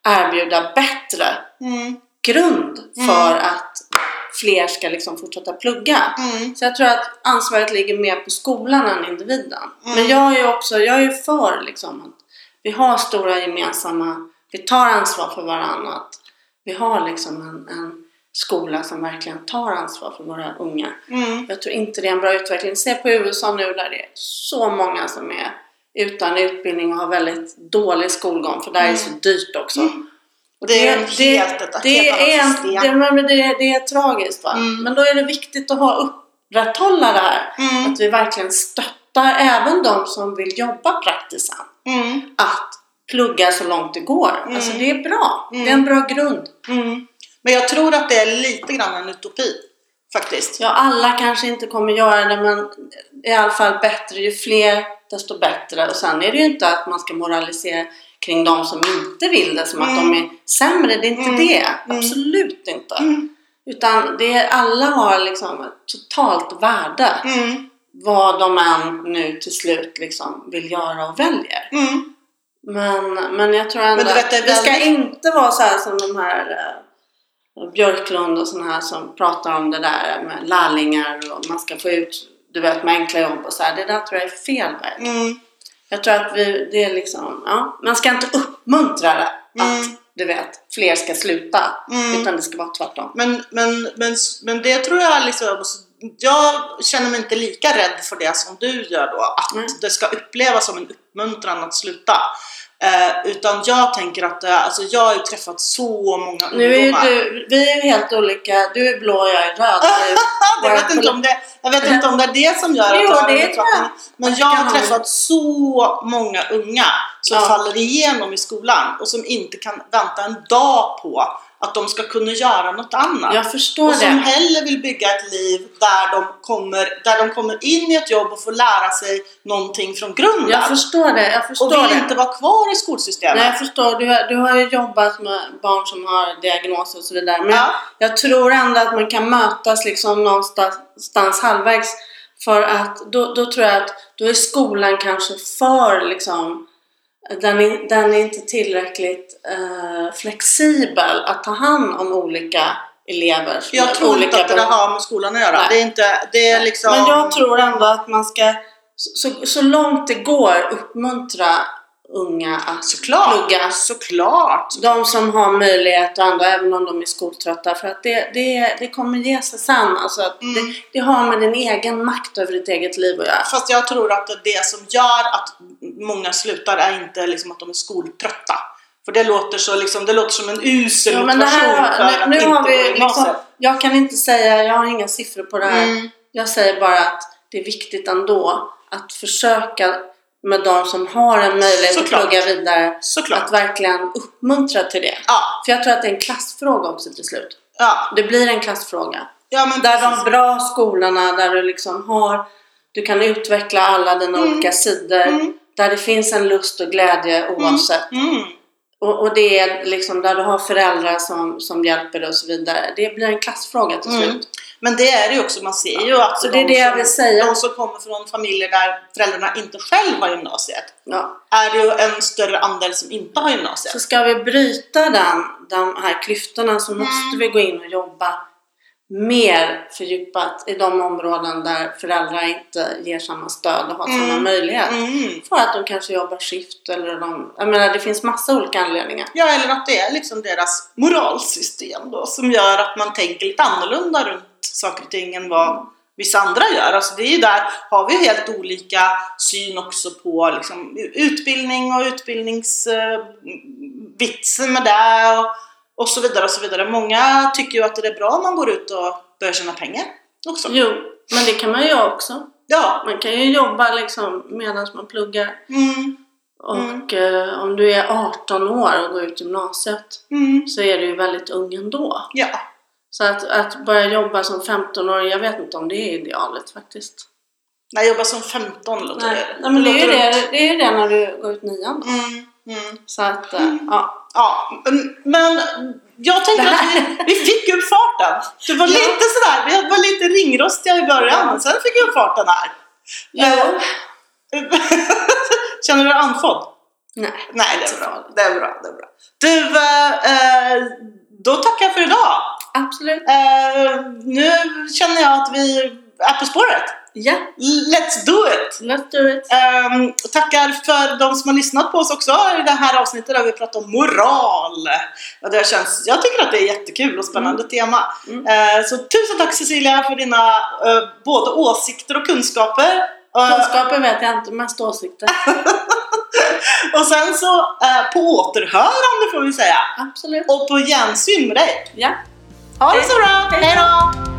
S2: erbjuda bättre
S1: Mm.
S2: grund
S1: Mm.
S2: för att fler ska liksom fortsätta plugga.
S1: Mm.
S2: Så jag tror att ansvaret ligger mer på skolan än individen.
S1: Mm.
S2: Men jag är ju också, jag är ju för liksom att vi har stora gemensamma, vi tar ansvar för varandra. Att vi har liksom en, en skola som verkligen tar ansvar för våra unga.
S1: Mm.
S2: Jag tror inte det är en bra utveckling. Se på USA nu där det är så många som är utan utbildning och har väldigt dålig skolgång för där är det så dyrt också.
S1: Mm. Det är en helt- ett
S2: det,
S1: helt
S2: är,
S1: annat
S2: en-
S1: system.
S2: det, men det, är- det är tragiskt va?
S1: Mm.
S2: Men då är det viktigt att ha upprätthålla det här.
S1: Mm.
S2: Att vi verkligen stöttar även de som vill jobba praktiskt sen.
S1: Mm.
S2: Att plugga så långt det går.
S1: Mm.
S2: Alltså det är bra.
S1: Mm.
S2: Det är en bra grund.
S1: Mm. Men jag tror att det är lite grann en utopi faktiskt.
S2: Ja, alla kanske inte kommer göra det, men i alla fall bättre. Ju fler, desto bättre. Och sen är det ju inte att man ska moralisera kring de som inte vill det, som att
S1: Mm.
S2: de är sämre. Det är inte
S1: Mm.
S2: det. Absolut inte.
S1: Mm.
S2: Utan det är, alla har liksom ett totalt värde.
S1: Mm.
S2: vad de än nu till slut liksom vill göra och väljer.
S1: Mm.
S2: Men, men jag tror ändå
S1: Men du vet,
S2: att
S1: det är
S2: vi ska
S1: väldigt-
S2: inte vara så här som de här eh, Björklund och såna här som pratar om det där med lärlingar och man ska få ut du vet med enkla jobb och så här. Det där tror jag är fel väg.
S1: Mm.
S2: Jag tror att vi, det är liksom, ja, man ska inte uppmuntra det, att
S1: Mm.
S2: du vet, fler ska sluta.
S1: Mm.
S2: Utan det ska vara tvärtom.
S1: Men, men, men, men det tror jag liksom, jag känner mig inte lika rädd för det som du gör då, att
S2: Mm.
S1: det ska upplevas som en uppmuntran att sluta. Eh, utan jag tänker att, det, alltså jag har ju träffat så många
S2: Nu är ju
S1: ungdomar.
S2: du, vi är ju helt olika. Du är blå och jag är röd. Det är-
S1: jag,
S2: våra
S1: vet inte om det, jag vet inte om det är det som gör att
S2: Jo,
S1: jag har
S2: det är
S1: den uppfattningen. Men jag har träffat så många unga som
S2: Ja.
S1: faller igenom i skolan och som inte kan vänta en dag på att de ska kunna göra något annat.
S2: Jag förstår
S1: Och som
S2: det.
S1: hellre vill bygga ett liv där de, kommer, där de kommer in i ett jobb och får lära sig någonting från grunden.
S2: Jag förstår det. Jag
S1: och
S2: förstår
S1: vill
S2: det.
S1: inte vara kvar i skolsystemet.
S2: Nej, jag förstår. Du, har- du har ju jobbat med barn som har diagnoser och så vidare. Men
S1: Ja.
S2: jag tror ändå att man kan mötas liksom någonstans halvvägs. För att då, då tror jag att då är skolan kanske för liksom den är, den är inte tillräckligt eh, flexibel att ta hand om olika elever. som
S1: Jag
S2: har
S1: tror
S2: olika
S1: inte att det
S2: behov.
S1: där har med skolan att göra.
S2: Nej.
S1: Det är inte, det är liksom...
S2: Men jag tror ändå att man ska så, så, så långt det går uppmuntra unga att
S1: Såklart!
S2: plugga.
S1: Såklart!
S2: De som har möjlighet och ändå, även om de är skoltrötta. För att det, det, det kommer ge sig sen. Alltså att
S1: Mm.
S2: det, det har med din egen makt över ditt eget liv att göra.
S1: Fast jag tror att det som gör att många slutar är inte liksom att de är skoltrötta. För det låter, så liksom, det låter som en usel
S2: Ja, men
S1: motivation
S2: det här,
S1: för att
S2: har- nu, nu
S1: inte
S2: har
S1: gå i
S2: vi liksom,
S1: gymnasiet.
S2: Jag kan inte säga, jag har inga siffror på det här.
S1: Mm.
S2: Jag säger bara att det är viktigt ändå att försöka med de som har en möjlighet
S1: Såklart.
S2: att plugga vidare.
S1: Såklart!
S2: Att verkligen uppmuntra till det.
S1: Ja,
S2: För jag tror att det är en klassfråga också till slut.
S1: ja,
S2: Det blir en klassfråga.
S1: ja, men
S2: Där
S1: precis.
S2: de bra skolorna, där du liksom har, du kan utveckla alla dina
S1: Mm.
S2: olika sidor.
S1: Mm.
S2: Där det finns en lust och glädje oavsett.
S1: Mm.
S2: Och, och det är liksom där du har föräldrar som, som hjälper dig och så vidare. Det blir en klassfråga till slut.
S1: Mm. Men det är det ju också, man ser ju att
S2: Så det är det jag vill
S1: som,
S2: säga.
S1: de som kommer från familjer där föräldrarna inte själv har gymnasiet,
S2: Ja.
S1: är det ju en större andel som inte har gymnasiet.
S2: Så ska vi bryta den, de här klyftorna
S1: Mm.
S2: så måste vi gå in och jobba mer fördjupat i de områden där föräldrar inte ger samma stöd och har samma
S1: Mm.
S2: möjlighet.
S1: Mm.
S2: För att de kanske jobbar skift eller de... Jag menar det finns massa olika anledningar.
S1: Ja, eller att det är liksom deras moralsystem då som gör att man tänker lite annorlunda runt saker och ting än
S2: Mm.
S1: vad vissa andra gör. Alltså det är ju där har vi helt olika syn också på liksom, utbildning och utbildningsvitsen med det och, och så vidare och så vidare. Många tycker ju att det är bra om man går ut och börjar tjäna pengar också.
S2: Jo, men det kan man göra också.
S1: Ja.
S2: Man kan ju jobba liksom medan man pluggar.
S1: Mm,
S2: Och eh, om du är 18 år och går ut gymnasiet
S1: mm,
S2: så är du ju väldigt ung ändå.
S1: ja.
S2: Så att, att börja jobba som 15-åring, jag vet inte om det är idealet faktiskt.
S1: När jag jobbar som 15 låter
S2: Nej, nej men det är ju
S1: låter
S2: det, det, är ju det när du går ut nian då.
S1: Mm, mm.
S2: Så att, eh, ja.
S1: Ja, men- men jag tänker
S2: Det
S1: att
S2: här-
S1: vi, vi fick upp farten. Det var
S2: Ja.
S1: lite sådär, vi var lite ringrostiga i början,
S2: Ja.
S1: men sen fick vi upp farten här.
S2: Ja.
S1: Känner du dig andfådd?
S2: Nej.
S1: Nej, det är bra. Det är bra, det är bra. Du, eh, eh, då tackar jag för idag.
S2: Absolut.
S1: Eh, nu känner jag att vi är på spåret.
S2: Ja,
S1: Let's do it!
S2: let's do it.
S1: Ehm, tackar för de som har lyssnat på oss också i det här avsnittet där vi pratar om moral. Och det känns, jag tycker att det är jättekul och spännande tema.
S2: Mm.
S1: Eh, så tusen tack Cecilia för dina eh, både åsikter och kunskaper. Eh,
S2: Kunskaper vet jag inte, mest åsikter.
S1: och sen så eh, på återhörande får vi säga.
S2: Absolut.
S1: Och på gensyn med dig.
S2: Ja.
S1: Ha det så bra! Hej då!